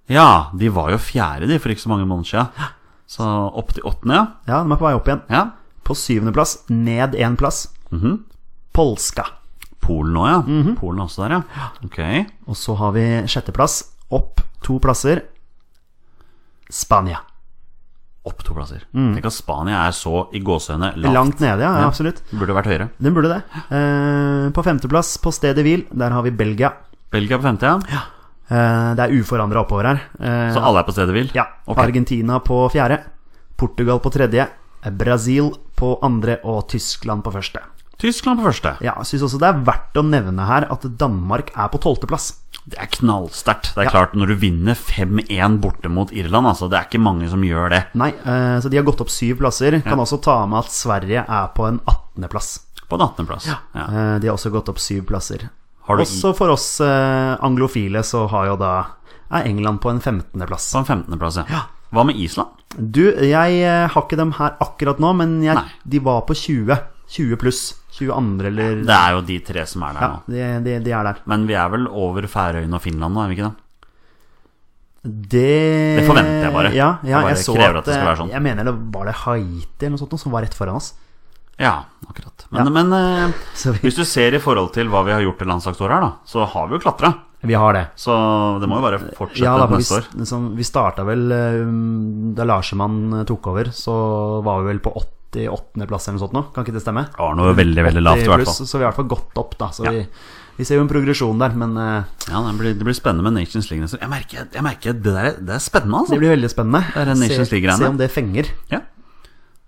Ja, de var jo fjerde, de, for ikke så mange måneder siden. Så opp til åttende, ja. Ja, de er på vei opp igjen. ja. På syvendeplass, ned én plass. Mhm. Polska. Polen òg, ja. Mhm. Polen er også der, ja. Ok. Og så har vi sjetteplass, opp to plasser. Spania. Opp to plasser. Tenk at Spania er så i gåsehøyne lavt. Mm. Langt nede, ja. ja absolutt. Burde vært høyere. Den burde det. Eh, på femteplass, på stedet hvil, der har vi Belgia. Belgia på femte, ja. Eh, det er uforandra oppover her. Eh, Så alle er på stedet hvil? Ja. Ok. Argentina på fjerde. Portugal på tredje. Brasil på andre og Tyskland på første. Tyskland på første. Ja, jeg Syns også det er verdt å nevne her at Danmark er på tolvteplass. Det er knallsterkt. Det er klart, når du vinner 5-1 borte mot Irland, altså, det er ikke mange som gjør det. Nei, eh, så de har gått opp syv plasser. Kan også ta med at Sverige er på en 18.-plass. På en 18.-plass. Ja. Eh, de har også gått opp syv plasser. Har du i- Også for oss eh, anglofile så har jo da er England på en 15.-plass. På en 15.-plass, ja. Hva med Island? Du, jeg eh, har ikke dem her akkurat nå, men jeg, Nei. de var på 20. 20 pluss. 22. eller Det er jo de tre som er der Ja, nå. de, de, de er der. Men vi er vel over Færøyene og Finland nå, er vi ikke det? Det Det forventer jeg bare. Ja, Jeg ja, bare jeg så krever at, eh, at det skal være sånn. Jeg mener det var det Haiti eller noe sånt noe som var rett foran oss. [LAUGHS] Ja, akkurat. Men, men eh, Så vi, hvis du ser i forhold til hva vi har gjort i landslagsåret her, da, så har vi jo klatra. vi har det. Så det må jo bare fortsette Ja, da, for vi, neste år. liksom, vi starta vel um, Da Larsemann tok over, så var vi vel på 88.-plass eller noe sånt nå. Kan ikke det stemme? Det var noe veldig, veldig lavt, i hvert fall. Pluss, så vi har i hvert fall gått opp, da. Så Ja. vi, vi ser jo en progresjon der, men eh, Ja, det blir, det blir spennende med Nations League neste år. Jeg merker, jeg merker det, der, er- det er spennende, altså. det blir veldig spennende. er en Nations se, League-greiene. se om det fenger. Ja.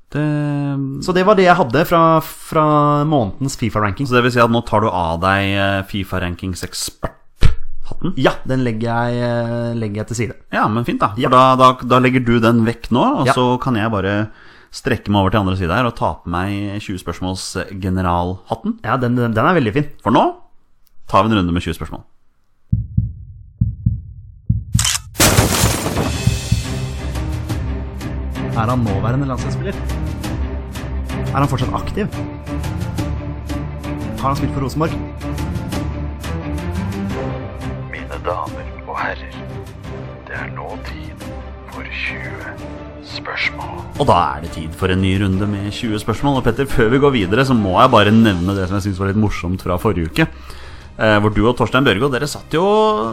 Det, Så det var det jeg hadde fra, fra månedens Fifa-ranking. så det vil si at nå tar du av deg eh, Fifa-rankings-ekspert-hatten? Ja, den legger jeg, eh, legger jeg til side. Ja, men fint, da. For da, da, da legger du den vekk nå, og Ja. så kan jeg bare strekke meg over til andre side her og ta på meg 20 spørsmåls eh, generalhatten. Ja, den, den, den er veldig fin. For nå tar vi en runde med 20 spørsmål. Er han nåværende landslagsspiller? Er han fortsatt aktiv? Har han spilt for Rosenborg? Mine damer og herrer, det er nå tid for 20 spørsmål. Og da er det tid for en ny runde med 20 spørsmål. Og Petter, før vi går videre, så må jeg bare nevne det som jeg syns var litt morsomt fra forrige uke. Eh, hvor du og Torstein Børgo, dere satt jo,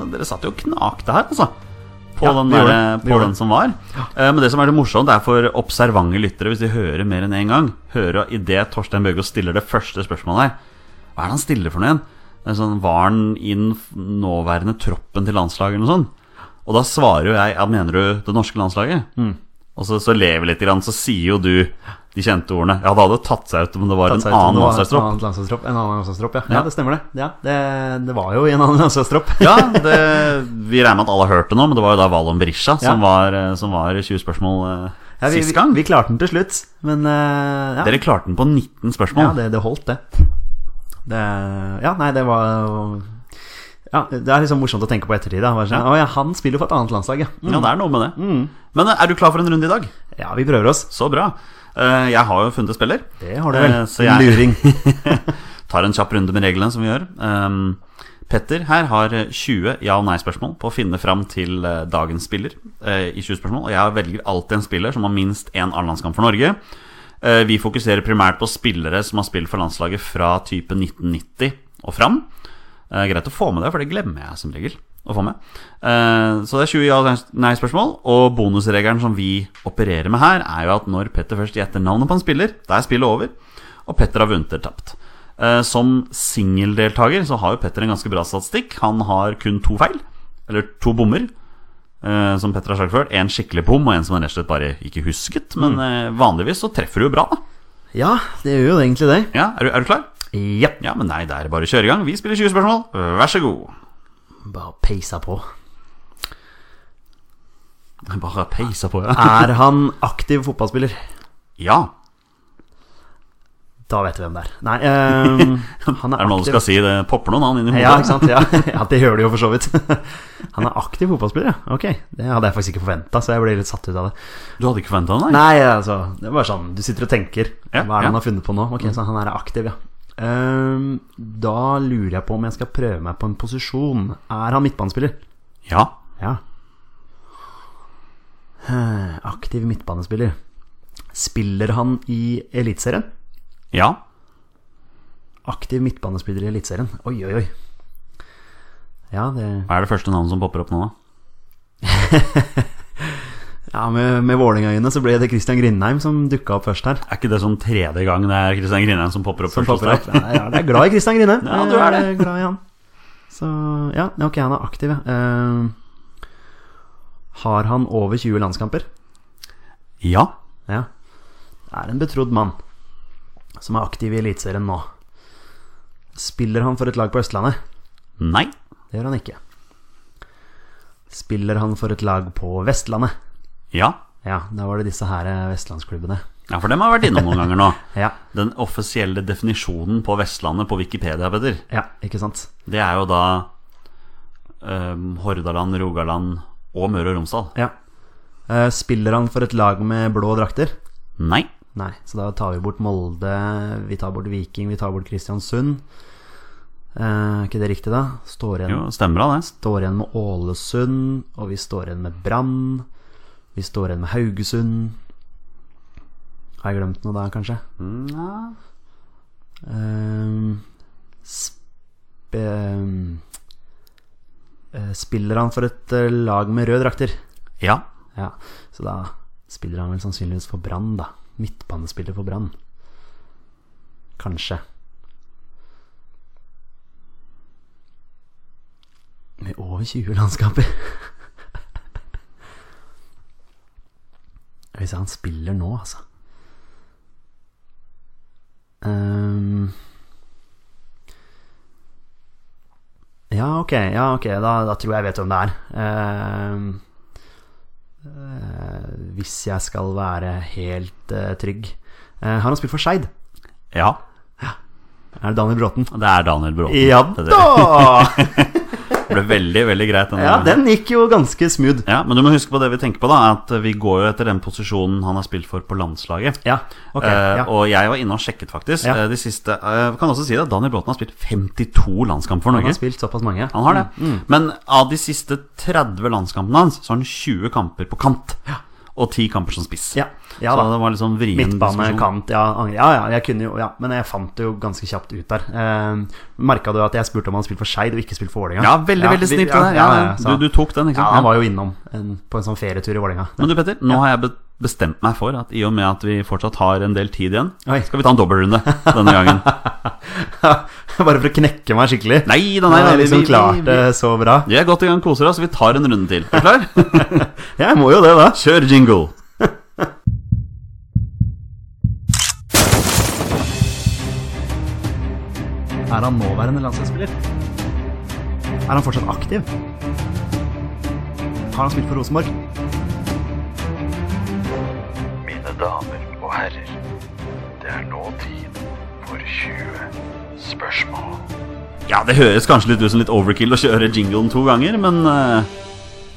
dere satt jo og knakte her, altså. På, Ja, den, vi gjorde der, det, vi på gjorde den det. som var. Eh, men det som er litt morsomt, er for observante lyttere, hvis de hører mer enn én gang, hører idet Torstein Børgo stiller det første spørsmålet her Hva er det han stiller for noe igjen? Det er sånn, Var han i den f- nåværende troppen til landslaget eller noe sånt? Og da svarer jo jeg ja, Mener du det norske landslaget? Mm. Og så, så lever litt, grann, så sier jo du de kjente ordene. Ja, det hadde tatt seg ut om det var en annen En landslagstropp. annen landslagstropp, en annen landslagstropp, ja. Ja. ja. det stemmer det. Ja, det. Det var jo i en annen landslagstropp. Ja, det, vi regner med at alle har hørt det nå, men det var jo da Valon Berisha Ja. som, var, eh, som var 20 spørsmål eh, [LAUGHS] Ja, vi, sist vi, gang. vi klarte den til slutt, men eh, ja, Dere klarte den på 19 spørsmål. ja det, det holdt, det. det. Ja, nei, det var ja, Det er liksom morsomt å tenke på i ettertid. Da. Bare sånn, Å ja, han spiller jo for et annet landslag, ja. Mm. Ja, det er noe med det. Men eh, er du klar for en runde i dag? Ja, vi prøver oss. Så bra. Eh, Jeg har jo funnet spiller. Det har du vel. Eh, så Din jeg- luring. [LAUGHS] tar en kjapp runde med reglene som vi gjør. Ehm, Petter her har 20 ja- og nei-spørsmål på å finne fram til eh, dagens spiller. eh, i 20 spørsmål Og jeg velger alltid en spiller som har minst én A-landskamp for Norge. Eh, vi fokuserer primært på spillere som har spilt for landslaget fra type 1990 og fram. Eh, greit å få med det, for det glemmer jeg som regel å få med. Eh, så det er 20 ja- og nei-spørsmål. Og bonusregelen som vi opererer med her, er jo at når Petter først gjetter navnet på en spiller, da er spillet over, og Petter har vunnet eller tapt. Eh, som singeldeltaker så har jo Petter en ganske bra statistikk. Han har kun to feil, eller to bommer. eh, som Petter har sagt før, en skikkelig bom og en som han rett og slett bare ikke husket. Men eh, vanligvis så treffer du jo bra, da. Ja, det gjør jo egentlig det. Ja, er, du, er du klar? Ja. Ja, men nei, det er bare å kjøre i gang. Vi spiller 20 spørsmål. Vær så god. Bare peisa på. Bare peisa på, ja. Er han aktiv fotballspiller? Ja. Da vet du hvem det er. Nei, [LAUGHS] ehm, han Er er det noe du aktiv. skal si? Det popper noen annen inn i hodet. Ja, ikke sant? Ja. [LAUGHS] ja, det gjør det jo for så vidt. [LAUGHS] Han er aktiv fotballspiller, ja. Ok, det hadde jeg faktisk ikke forventa, så jeg ble litt satt ut av det. Du hadde ikke forventa det? Nei, altså, det var sånn, du sitter og tenker. Hva Ja, er det ja. Mm. han har funnet på nå? Ok, så han her er aktiv, ja. Ehm, da lurer jeg på om jeg skal prøve meg på en posisjon. Er han midtbanespiller? Ja. Ja. Eh, Aktiv midtbanespiller. Spiller han i Eliteserien? Ja. Aktiv midtbanespiller i Eliteserien. Oi, oi, oi. Ja, det Hva er det første navnet som popper opp nå, da? Ja, med, med Vålerenga-øyne så ble det Christian Grindheim som dukka opp først her. Er ikke det sånn tredje gang det er Kristian Grindheim som popper opp Som først hos popper opp. deg? Ja, ja, jeg er glad i Christian Grindheim. [LAUGHS] Ja, du er det. Jeg glad i han. Så ja, ja, ok, han er aktiv, ja. Eh, har han over 20 landskamper? Ja. Ja. Det er en betrodd mann som er aktiv i Eliteserien nå. Spiller han for et lag på Østlandet? Nei. Det gjør han ikke. Spiller han for et lag på Vestlandet? Ja. Ja, da var det disse her eh, vestlandsklubbene. Ja, for dem har jeg vært innom noen ganger nå. Ja, Den offisielle definisjonen på Vestlandet på Wikipedia, Petter, ja ikke sant? det er jo da ehm, Hordaland, Rogaland og Møre og Romsdal. Ja. Eh, Spiller han for et lag med blå drakter? Nei. Nei, så da tar vi bort Molde, vi tar bort Viking, vi tar bort Kristiansund. Eh, Er ikke det riktig, da? Står igjen, Jo, stemmer da det. står igjen med Ålesund, og vi står igjen med Brann. Vi står igjen med Haugesund. Har jeg glemt noe der, kanskje? Eh, sp ehm, eh, spiller han for et eh, lag med røde drakter? Ja. Ja, så da spiller han vel sannsynligvis for Brann, da. Midtbanespiller for Brann. Kanskje. Med over 20 landskaper. Hvis han spiller nå, altså. Ehm. ja, ok, ja, ok, da, da tror jeg jeg vet hvem det er. Ehm. Eh, hvis jeg skal være helt eh, trygg. Eh, har han spilt for Skeid? Ja. Er det Daniel Bråten? Det er Daniel Bråten. Ja Petter. da! Det ble veldig, veldig greit. [LAUGHS] Ja, den gikk jo ganske smooth. Ja, Men du må huske på det vi tenker på, da. At vi går jo etter den posisjonen han har spilt for på landslaget. Ja, ok. Eh, Ja. Og jeg var inne og sjekket, faktisk. Ja. Eh, de siste, eh, vi kan også si det, Daniel Bråten har spilt 52 landskamper for Han Norge. har spilt Mm, såpass mange. Han har det. Men av de siste 30 landskampene hans, så har han 20 kamper på kant. Og 10 kamper som spiss. Ja, ja så da. det var litt sånn vrien Midtbane, diskusjon. kant, ja, angre- ja, ja, jeg kunne jo, ja, men jeg fant det jo ganske kjapt ut der. Eh, Merka du at jeg spurte om han spilte for Skeid og ikke spilte for Vålerenga? Ja, veldig, veldig vi- snilt. ja, det der. ja, Ja, ja, ja, så- du, du tok den, ikke ja, sant? han var jo innom en, på en sånn ferietur i Vålerenga. Men du Petter, nå har jeg be- bestemt meg for at i og med at vi fortsatt har en del tid igjen, [LAUGHS] Oi. skal vi ta en dobbeltrunde denne gangen. [LAUGHS] Bare for å knekke meg skikkelig. Nei da, Nei, nei da. jeg vi- liksom vi- klarte vi- det så bra. Vi er godt i gang, koser oss. Vi tar en runde til. Er du klar? Jeg må jo det, da. Kjør jingle. Er han nåværende landslagsspiller? Er han fortsatt aktiv? Har han spilt for Rosenborg? Mine damer og herrer, det er nå tid for 20 spørsmål. Ja, det høres kanskje litt ut som litt overkill å kjøre jinglen to ganger, men eh,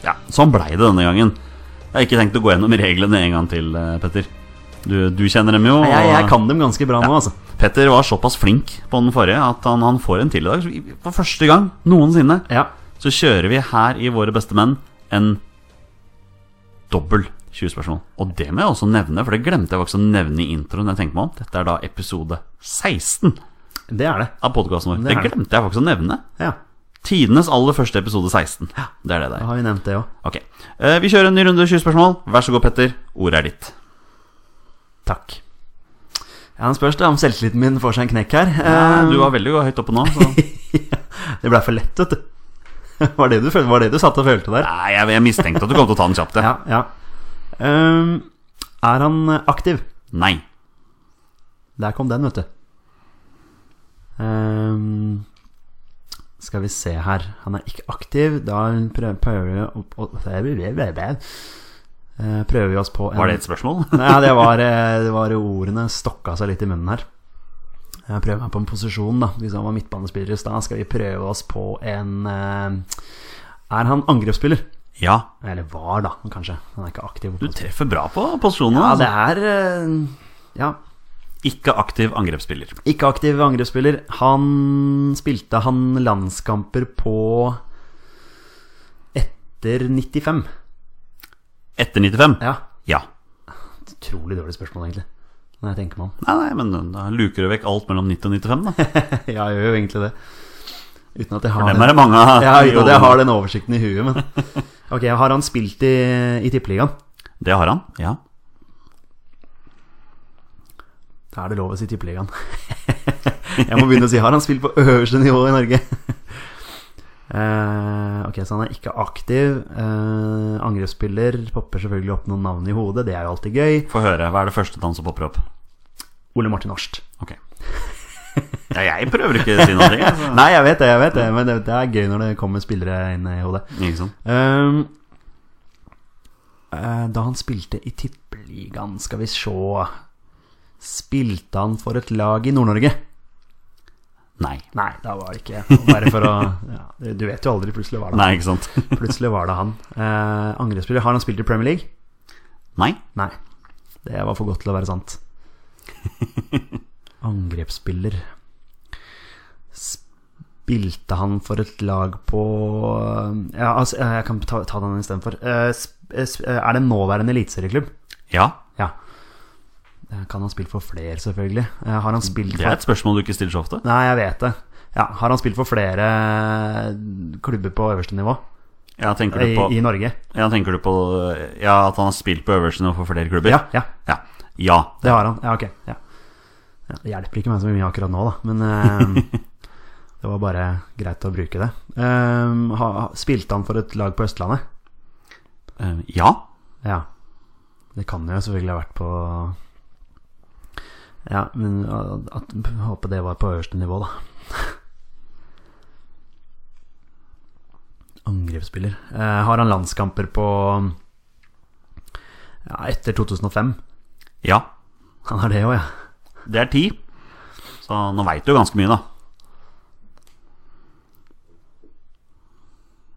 ja, sånn blei det denne gangen. Jeg har ikke tenkt å gå gjennom reglene en gang til, eh, Petter. Du, du kjenner dem jo. og- Jeg, jeg kan dem ganske bra nå, altså. Petter var såpass flink på den forrige at han, han får en til i dag. Så vi- For første gang noensinne Ja. så kjører vi her i Våre beste menn en dobbel 20-spørsmål. Og det må jeg også nevne, for det glemte jeg faktisk å nevne i introen. jeg tenkte meg om Dette er da episode 16 Det er det. av podkasten vår. Det Det er det. glemte jeg faktisk å nevne. Ja, Tidenes aller første episode 16. Det er det Da der. har vi nevnt det òg. Ok, Eh, Vi kjører en ny runde 20 spørsmål. Vær så god, Petter. Ordet er ditt. Takk. Ja, Han spørs da om selvtilliten min får seg en knekk her. Eh, Du var veldig god høyt oppe nå. [LAUGHS] Så. Det blei for lett, vet du. [LAUGHS] Var det du, følte, var det du satt og følte der? Nei, jeg, jeg mistenkte at du kom til å ta den kjapt. Ja, jeg. ja. Ehm, er han aktiv? Nei. Der kom den, vet du. Ehm, skal vi se her Han er ikke aktiv. Da prø- prøver vi å å- å- eh, prøver vi oss på en Var det et spørsmål? [LAUGHS] Nei, det var, eh, det var ordene stokka seg litt i munnen her. Jeg prøver meg på en posisjon, da. Hvis han var midtbanespiller i stad, skal vi prøve oss på en eh, Er han angrepsspiller? ja. Eller var, da, kanskje. Han er ikke aktiv. Du treffer bra på posisjonene. Ja, det altså. er eh, Ja. Ikke aktiv angrepsspiller. Ikke aktiv angrepsspiller. Han spilte han landskamper på etter 95. Etter 95? Ja. Ja. Utrolig dårlig spørsmål, egentlig. Når jeg tenker meg om. [LAUGHS] Nei, nei, men da luker du vekk alt mellom 90 og 95, da. Ja, jeg gjør jo egentlig det. Uten at jeg har Dem er det mange av. [LAUGHS] Ja, uten at jeg har den oversikten i [LAUGHS] huet, men Ok, har han spilt i, i Tippeligaen? Det har han. Ja. Da er det lov å si Tippeligaen. [LAUGHS] jeg må begynne å si har han spilt på øverste nivå i Norge? [LAUGHS] Eh, ok, så han er ikke aktiv. Eh, angrepsspiller. Popper selvfølgelig opp noen navn i hodet, det er jo alltid gøy. Få høre. Hva er det første danset popper opp? Ole Martin Årst. Ok. [LAUGHS] Ja, jeg prøver ikke å si noe. jeg, altså. Nei, jeg vet det, jeg vet det, men det, det er gøy når det kommer spillere inn i hodet. Ikke sant? Ehm, eh, da han spilte i Tippeligaen, skal vi se Spilte han for et lag i Nord-Norge? Nei. Nei, da var det ikke Bare for å [LAUGHS] ja, Du vet jo aldri. Plutselig var det Nei, ikke sant? [LAUGHS] Plutselig var det han. Eh, angrepsspiller. Har han spilt i Premier League? Nei. Nei. Det var for godt til å være sant. Angrepsspiller Spilte han for et lag på Ja, altså, jeg kan ta, ta den istedenfor. Eh, sp- eh, sp- eh, Er det en nåværende eliteserieklubb? Ja. Ja. Eh, Kan han spille for flere, selvfølgelig? Eh, Har han spilt Det er for et spørsmål du ikke stiller så ofte. Nei, jeg vet det. Ja, har han spilt for flere klubber på øverste nivå Ja, tenker i, du på, i Norge? ja, tenker du på ja, at han har spilt på øvelsen og for flere klubber? Ja, ja, Ja. ja. det har han. Ja, ok. Ja. Ja, det hjelper ikke meg så mye akkurat nå, da, men eh, det var bare greit å bruke det. Eh, ha, spilte han for et lag på Østlandet? Eh, ja. Ja. Det kan jo selvfølgelig ha vært på Ja, men at, at, håper det var på øverste nivå, da. [LAUGHS] Angrepsspiller. Eh, har han landskamper på Ja, etter 2005? Ja. Han har det òg, ja. Det er ti. Så nå veit du jo ganske mye, da.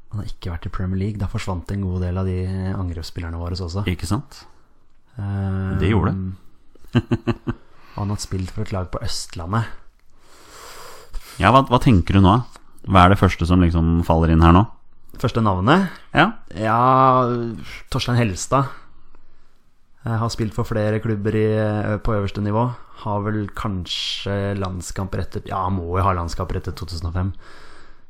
Han har ikke vært i Premier League. Da forsvant en god del av de eh, angrepsspillerne våre også. Ikke sant? Eh, Det gjorde [LAUGHS] han har spilt for et lag på Østlandet. Ja, hva, hva tenker du nå? da? Hva er det første som liksom faller inn her nå? Første navnet Ja. Ja, Torstein Helstad eh, har spilt for flere klubber i, eh, på øverste nivå. Har vel kanskje landskamper etter Ja, han må jo ha landskamper etter 2005.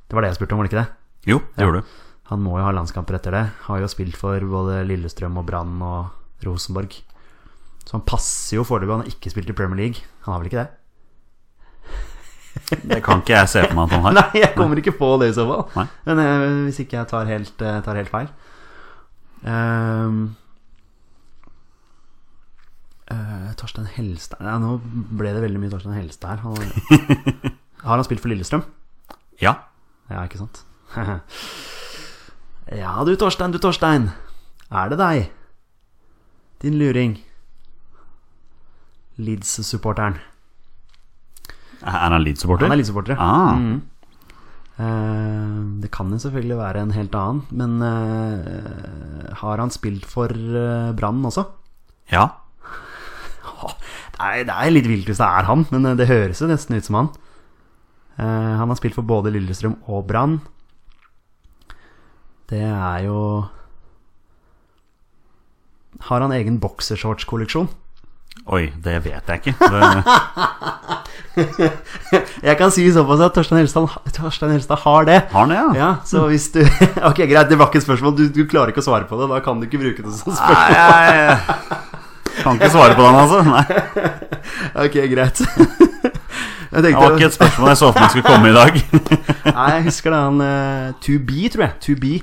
Det var det jeg spurte om, var det ikke det? Jo, det gjorde du. Han må jo ha landskamper etter det. Har jo spilt for både Lillestrøm og Brann og Rosenborg. Så han passer jo foreløpig. Han har ikke spilt i Premier League. Han har vel ikke det? Det kan ikke jeg se for meg at han har. [LAUGHS] Nei, jeg kommer ikke på det i så fall. Nei. Men eh, hvis ikke jeg tar helt, eh, tar helt feil. Ehm, eh, Torstein Helstad ja, Nå ble det veldig mye Torstein Helstad her. Han, [LAUGHS] har han spilt for Lillestrøm? Ja. Ja, ikke sant? [LAUGHS] ja du, Torstein, du, Torstein. Er det deg? Din luring. Leeds-supporteren. Er han Leeds-supporter? Han er Mm. Leeds-supporter, ja. Ah, Eh, Det kan jo selvfølgelig være en helt annen, men eh, har han spilt for eh, Brann også? ja. Åh, Det er, det er litt vilt hvis det er han, men eh, det høres jo nesten ut som han. Eh, Han har spilt for både Lillestrøm og Brann. Det er jo Har han egen boksershortskolleksjon? Oi, det vet jeg ikke. Det, Jeg kan si såpass at Torstein Helstad, Torstein Helstad har det. har han det, ja? Ja, så hvis du [LAUGHS] Ok, greit, det var ikke et spørsmål. Du, du klarer ikke å svare på det. Da kan du ikke bruke det som spørsmål. Nei, jeg, kan ikke svare på den, altså. Nei, det Ok, [LAUGHS] greit. Jeg var tenkte ikke et spørsmål jeg så for meg skulle komme i [LAUGHS] dag. Nei, jeg husker det han eh, To Be, tror jeg. To Be.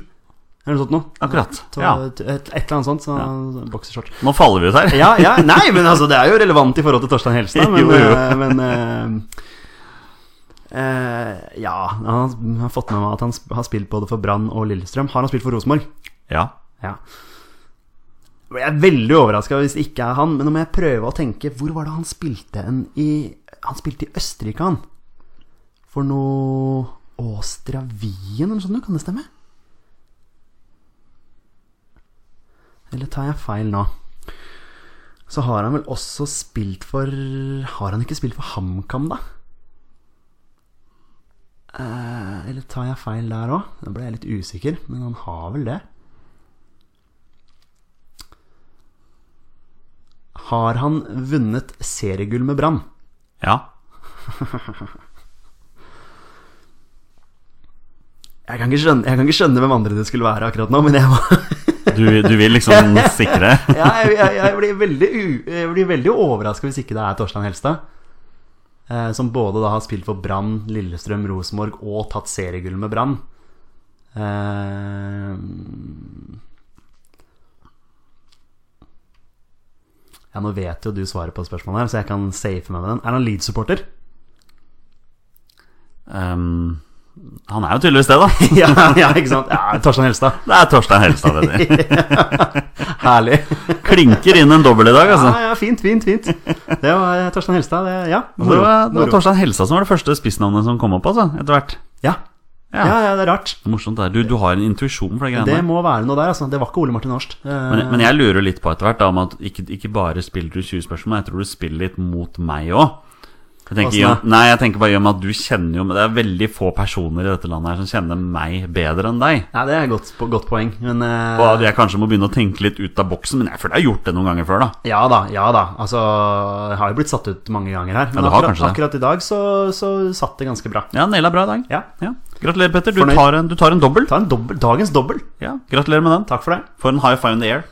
Eller noe sånt noe. Akkurat. Ta- Ja. Et, et eller annet sånt. Så Boksershort. Nå faller vi ut her. Ja, [LAUGHS] ja, nei, men altså, det er jo relevant i forhold til Torstein Helstad, men, Jo, jo. eh, men eh, eh, Ja, han har fått med meg at han sp- har spilt både for Brann og Lillestrøm. Har han spilt for Rosenborg? Ja. Ja. Jeg er veldig overraska hvis det ikke er han, men nå må jeg prøve å tenke Hvor var det han spilte en i Han spilte i Østerrike, han. For noe Åstra Wien eller noe sånt, kan det stemme? Eller tar jeg feil nå? Så har han vel også spilt for Har han ikke spilt for HamKam, da? Eh, eller tar jeg feil der òg? Da ble jeg litt usikker, men han har vel det. Har han vunnet seriegull med Brann? Ja. Jeg kan, ikke skjønne, jeg kan ikke skjønne hvem andre det skulle være akkurat nå, men jeg var Du, du vil liksom sikre [LAUGHS] ja, jeg, jeg, jeg blir veldig, u- jeg blir veldig overraska hvis ikke det er Torstein Helstad. Eh, som både da har spilt for Brann, Lillestrøm, Rosenborg og tatt seriegull med Brann. Eh, ja, nå vet jo du svaret på spørsmålet, her så jeg kan safe meg med den. Er han Leeds-supporter? Ehm, Han er jo tydeligvis det, da. [LAUGHS] ja, [LAUGHS] ja, ikke sant? Ja, Torstein Helstad. Det er Torstein Helstad, det de. Herlig. Klinker inn en dobbel i dag, altså. Ah, Ja, ja, fint, fint, fint. Det var eh, Torstein Helstad. Det, ja, Det var, det var moro. Torstein Helstad som var det første spissnavnet som kom opp, altså, etter hvert. Ja. Ja. Ja, ja, det er rart. Det er Morsomt det er. Du, du har en intuisjon for de greiene Det der. må være noe der, altså. Det var ikke Ole Martin Eh, Årst. Men, men jeg lurer litt på etter hvert da, om at ikke, ikke bare spiller du 20 spørsmål, men jeg tror du spiller litt mot meg òg. Hvordan da? Nei, jeg tenker bare i og med at du kjenner jo Det er veldig få personer i dette landet her som kjenner meg bedre enn deg. Nei, det er et godt, po- godt poeng, men eh, Og at jeg kanskje må begynne å tenke litt ut av boksen, men jeg føler jeg har gjort det noen ganger før, da. Ja da, ja da. Altså, jeg har jo blitt satt ut mange ganger her. Men du har akkurat, kanskje det. akkurat i dag så, så satt det ganske bra. Ja, naila bra i dag. Ja. Ja. Gratulerer, Petter. Du Fornøyd. tar en, du tar en dobbel. Ta en dobbel, dagens dobbel. Ja, gratulerer med den. Takk for det. For en high five in the air.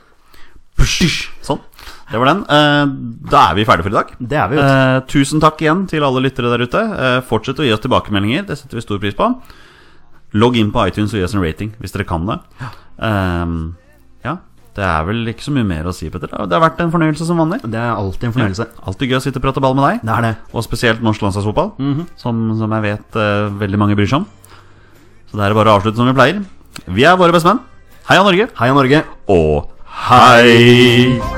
Push. Sånn. Det var den. Eh, Da er vi ferdige for i dag. Det er vi, vet du. Eh, tusen takk igjen til alle lyttere der ute. Eh, fortsett å gi oss tilbakemeldinger. Det setter vi stor pris på. Logg inn på iTunes og gi oss en rating hvis dere kan det. Ehm, ja, det er vel ikke så mye mer å si, Petter. Det har vært en fornøyelse som vanlig. Det er alltid en fornøyelse. Alltid gøy å sitte og prate ball med deg. Det er det. Mhm. Og spesielt norsk landslagsfotball, som, som jeg vet eh, veldig mange bryr seg om. Så det er bare å avslutte som vi pleier. Vi er våre bestemenn. Heia Norge, Heia Norge. og hei!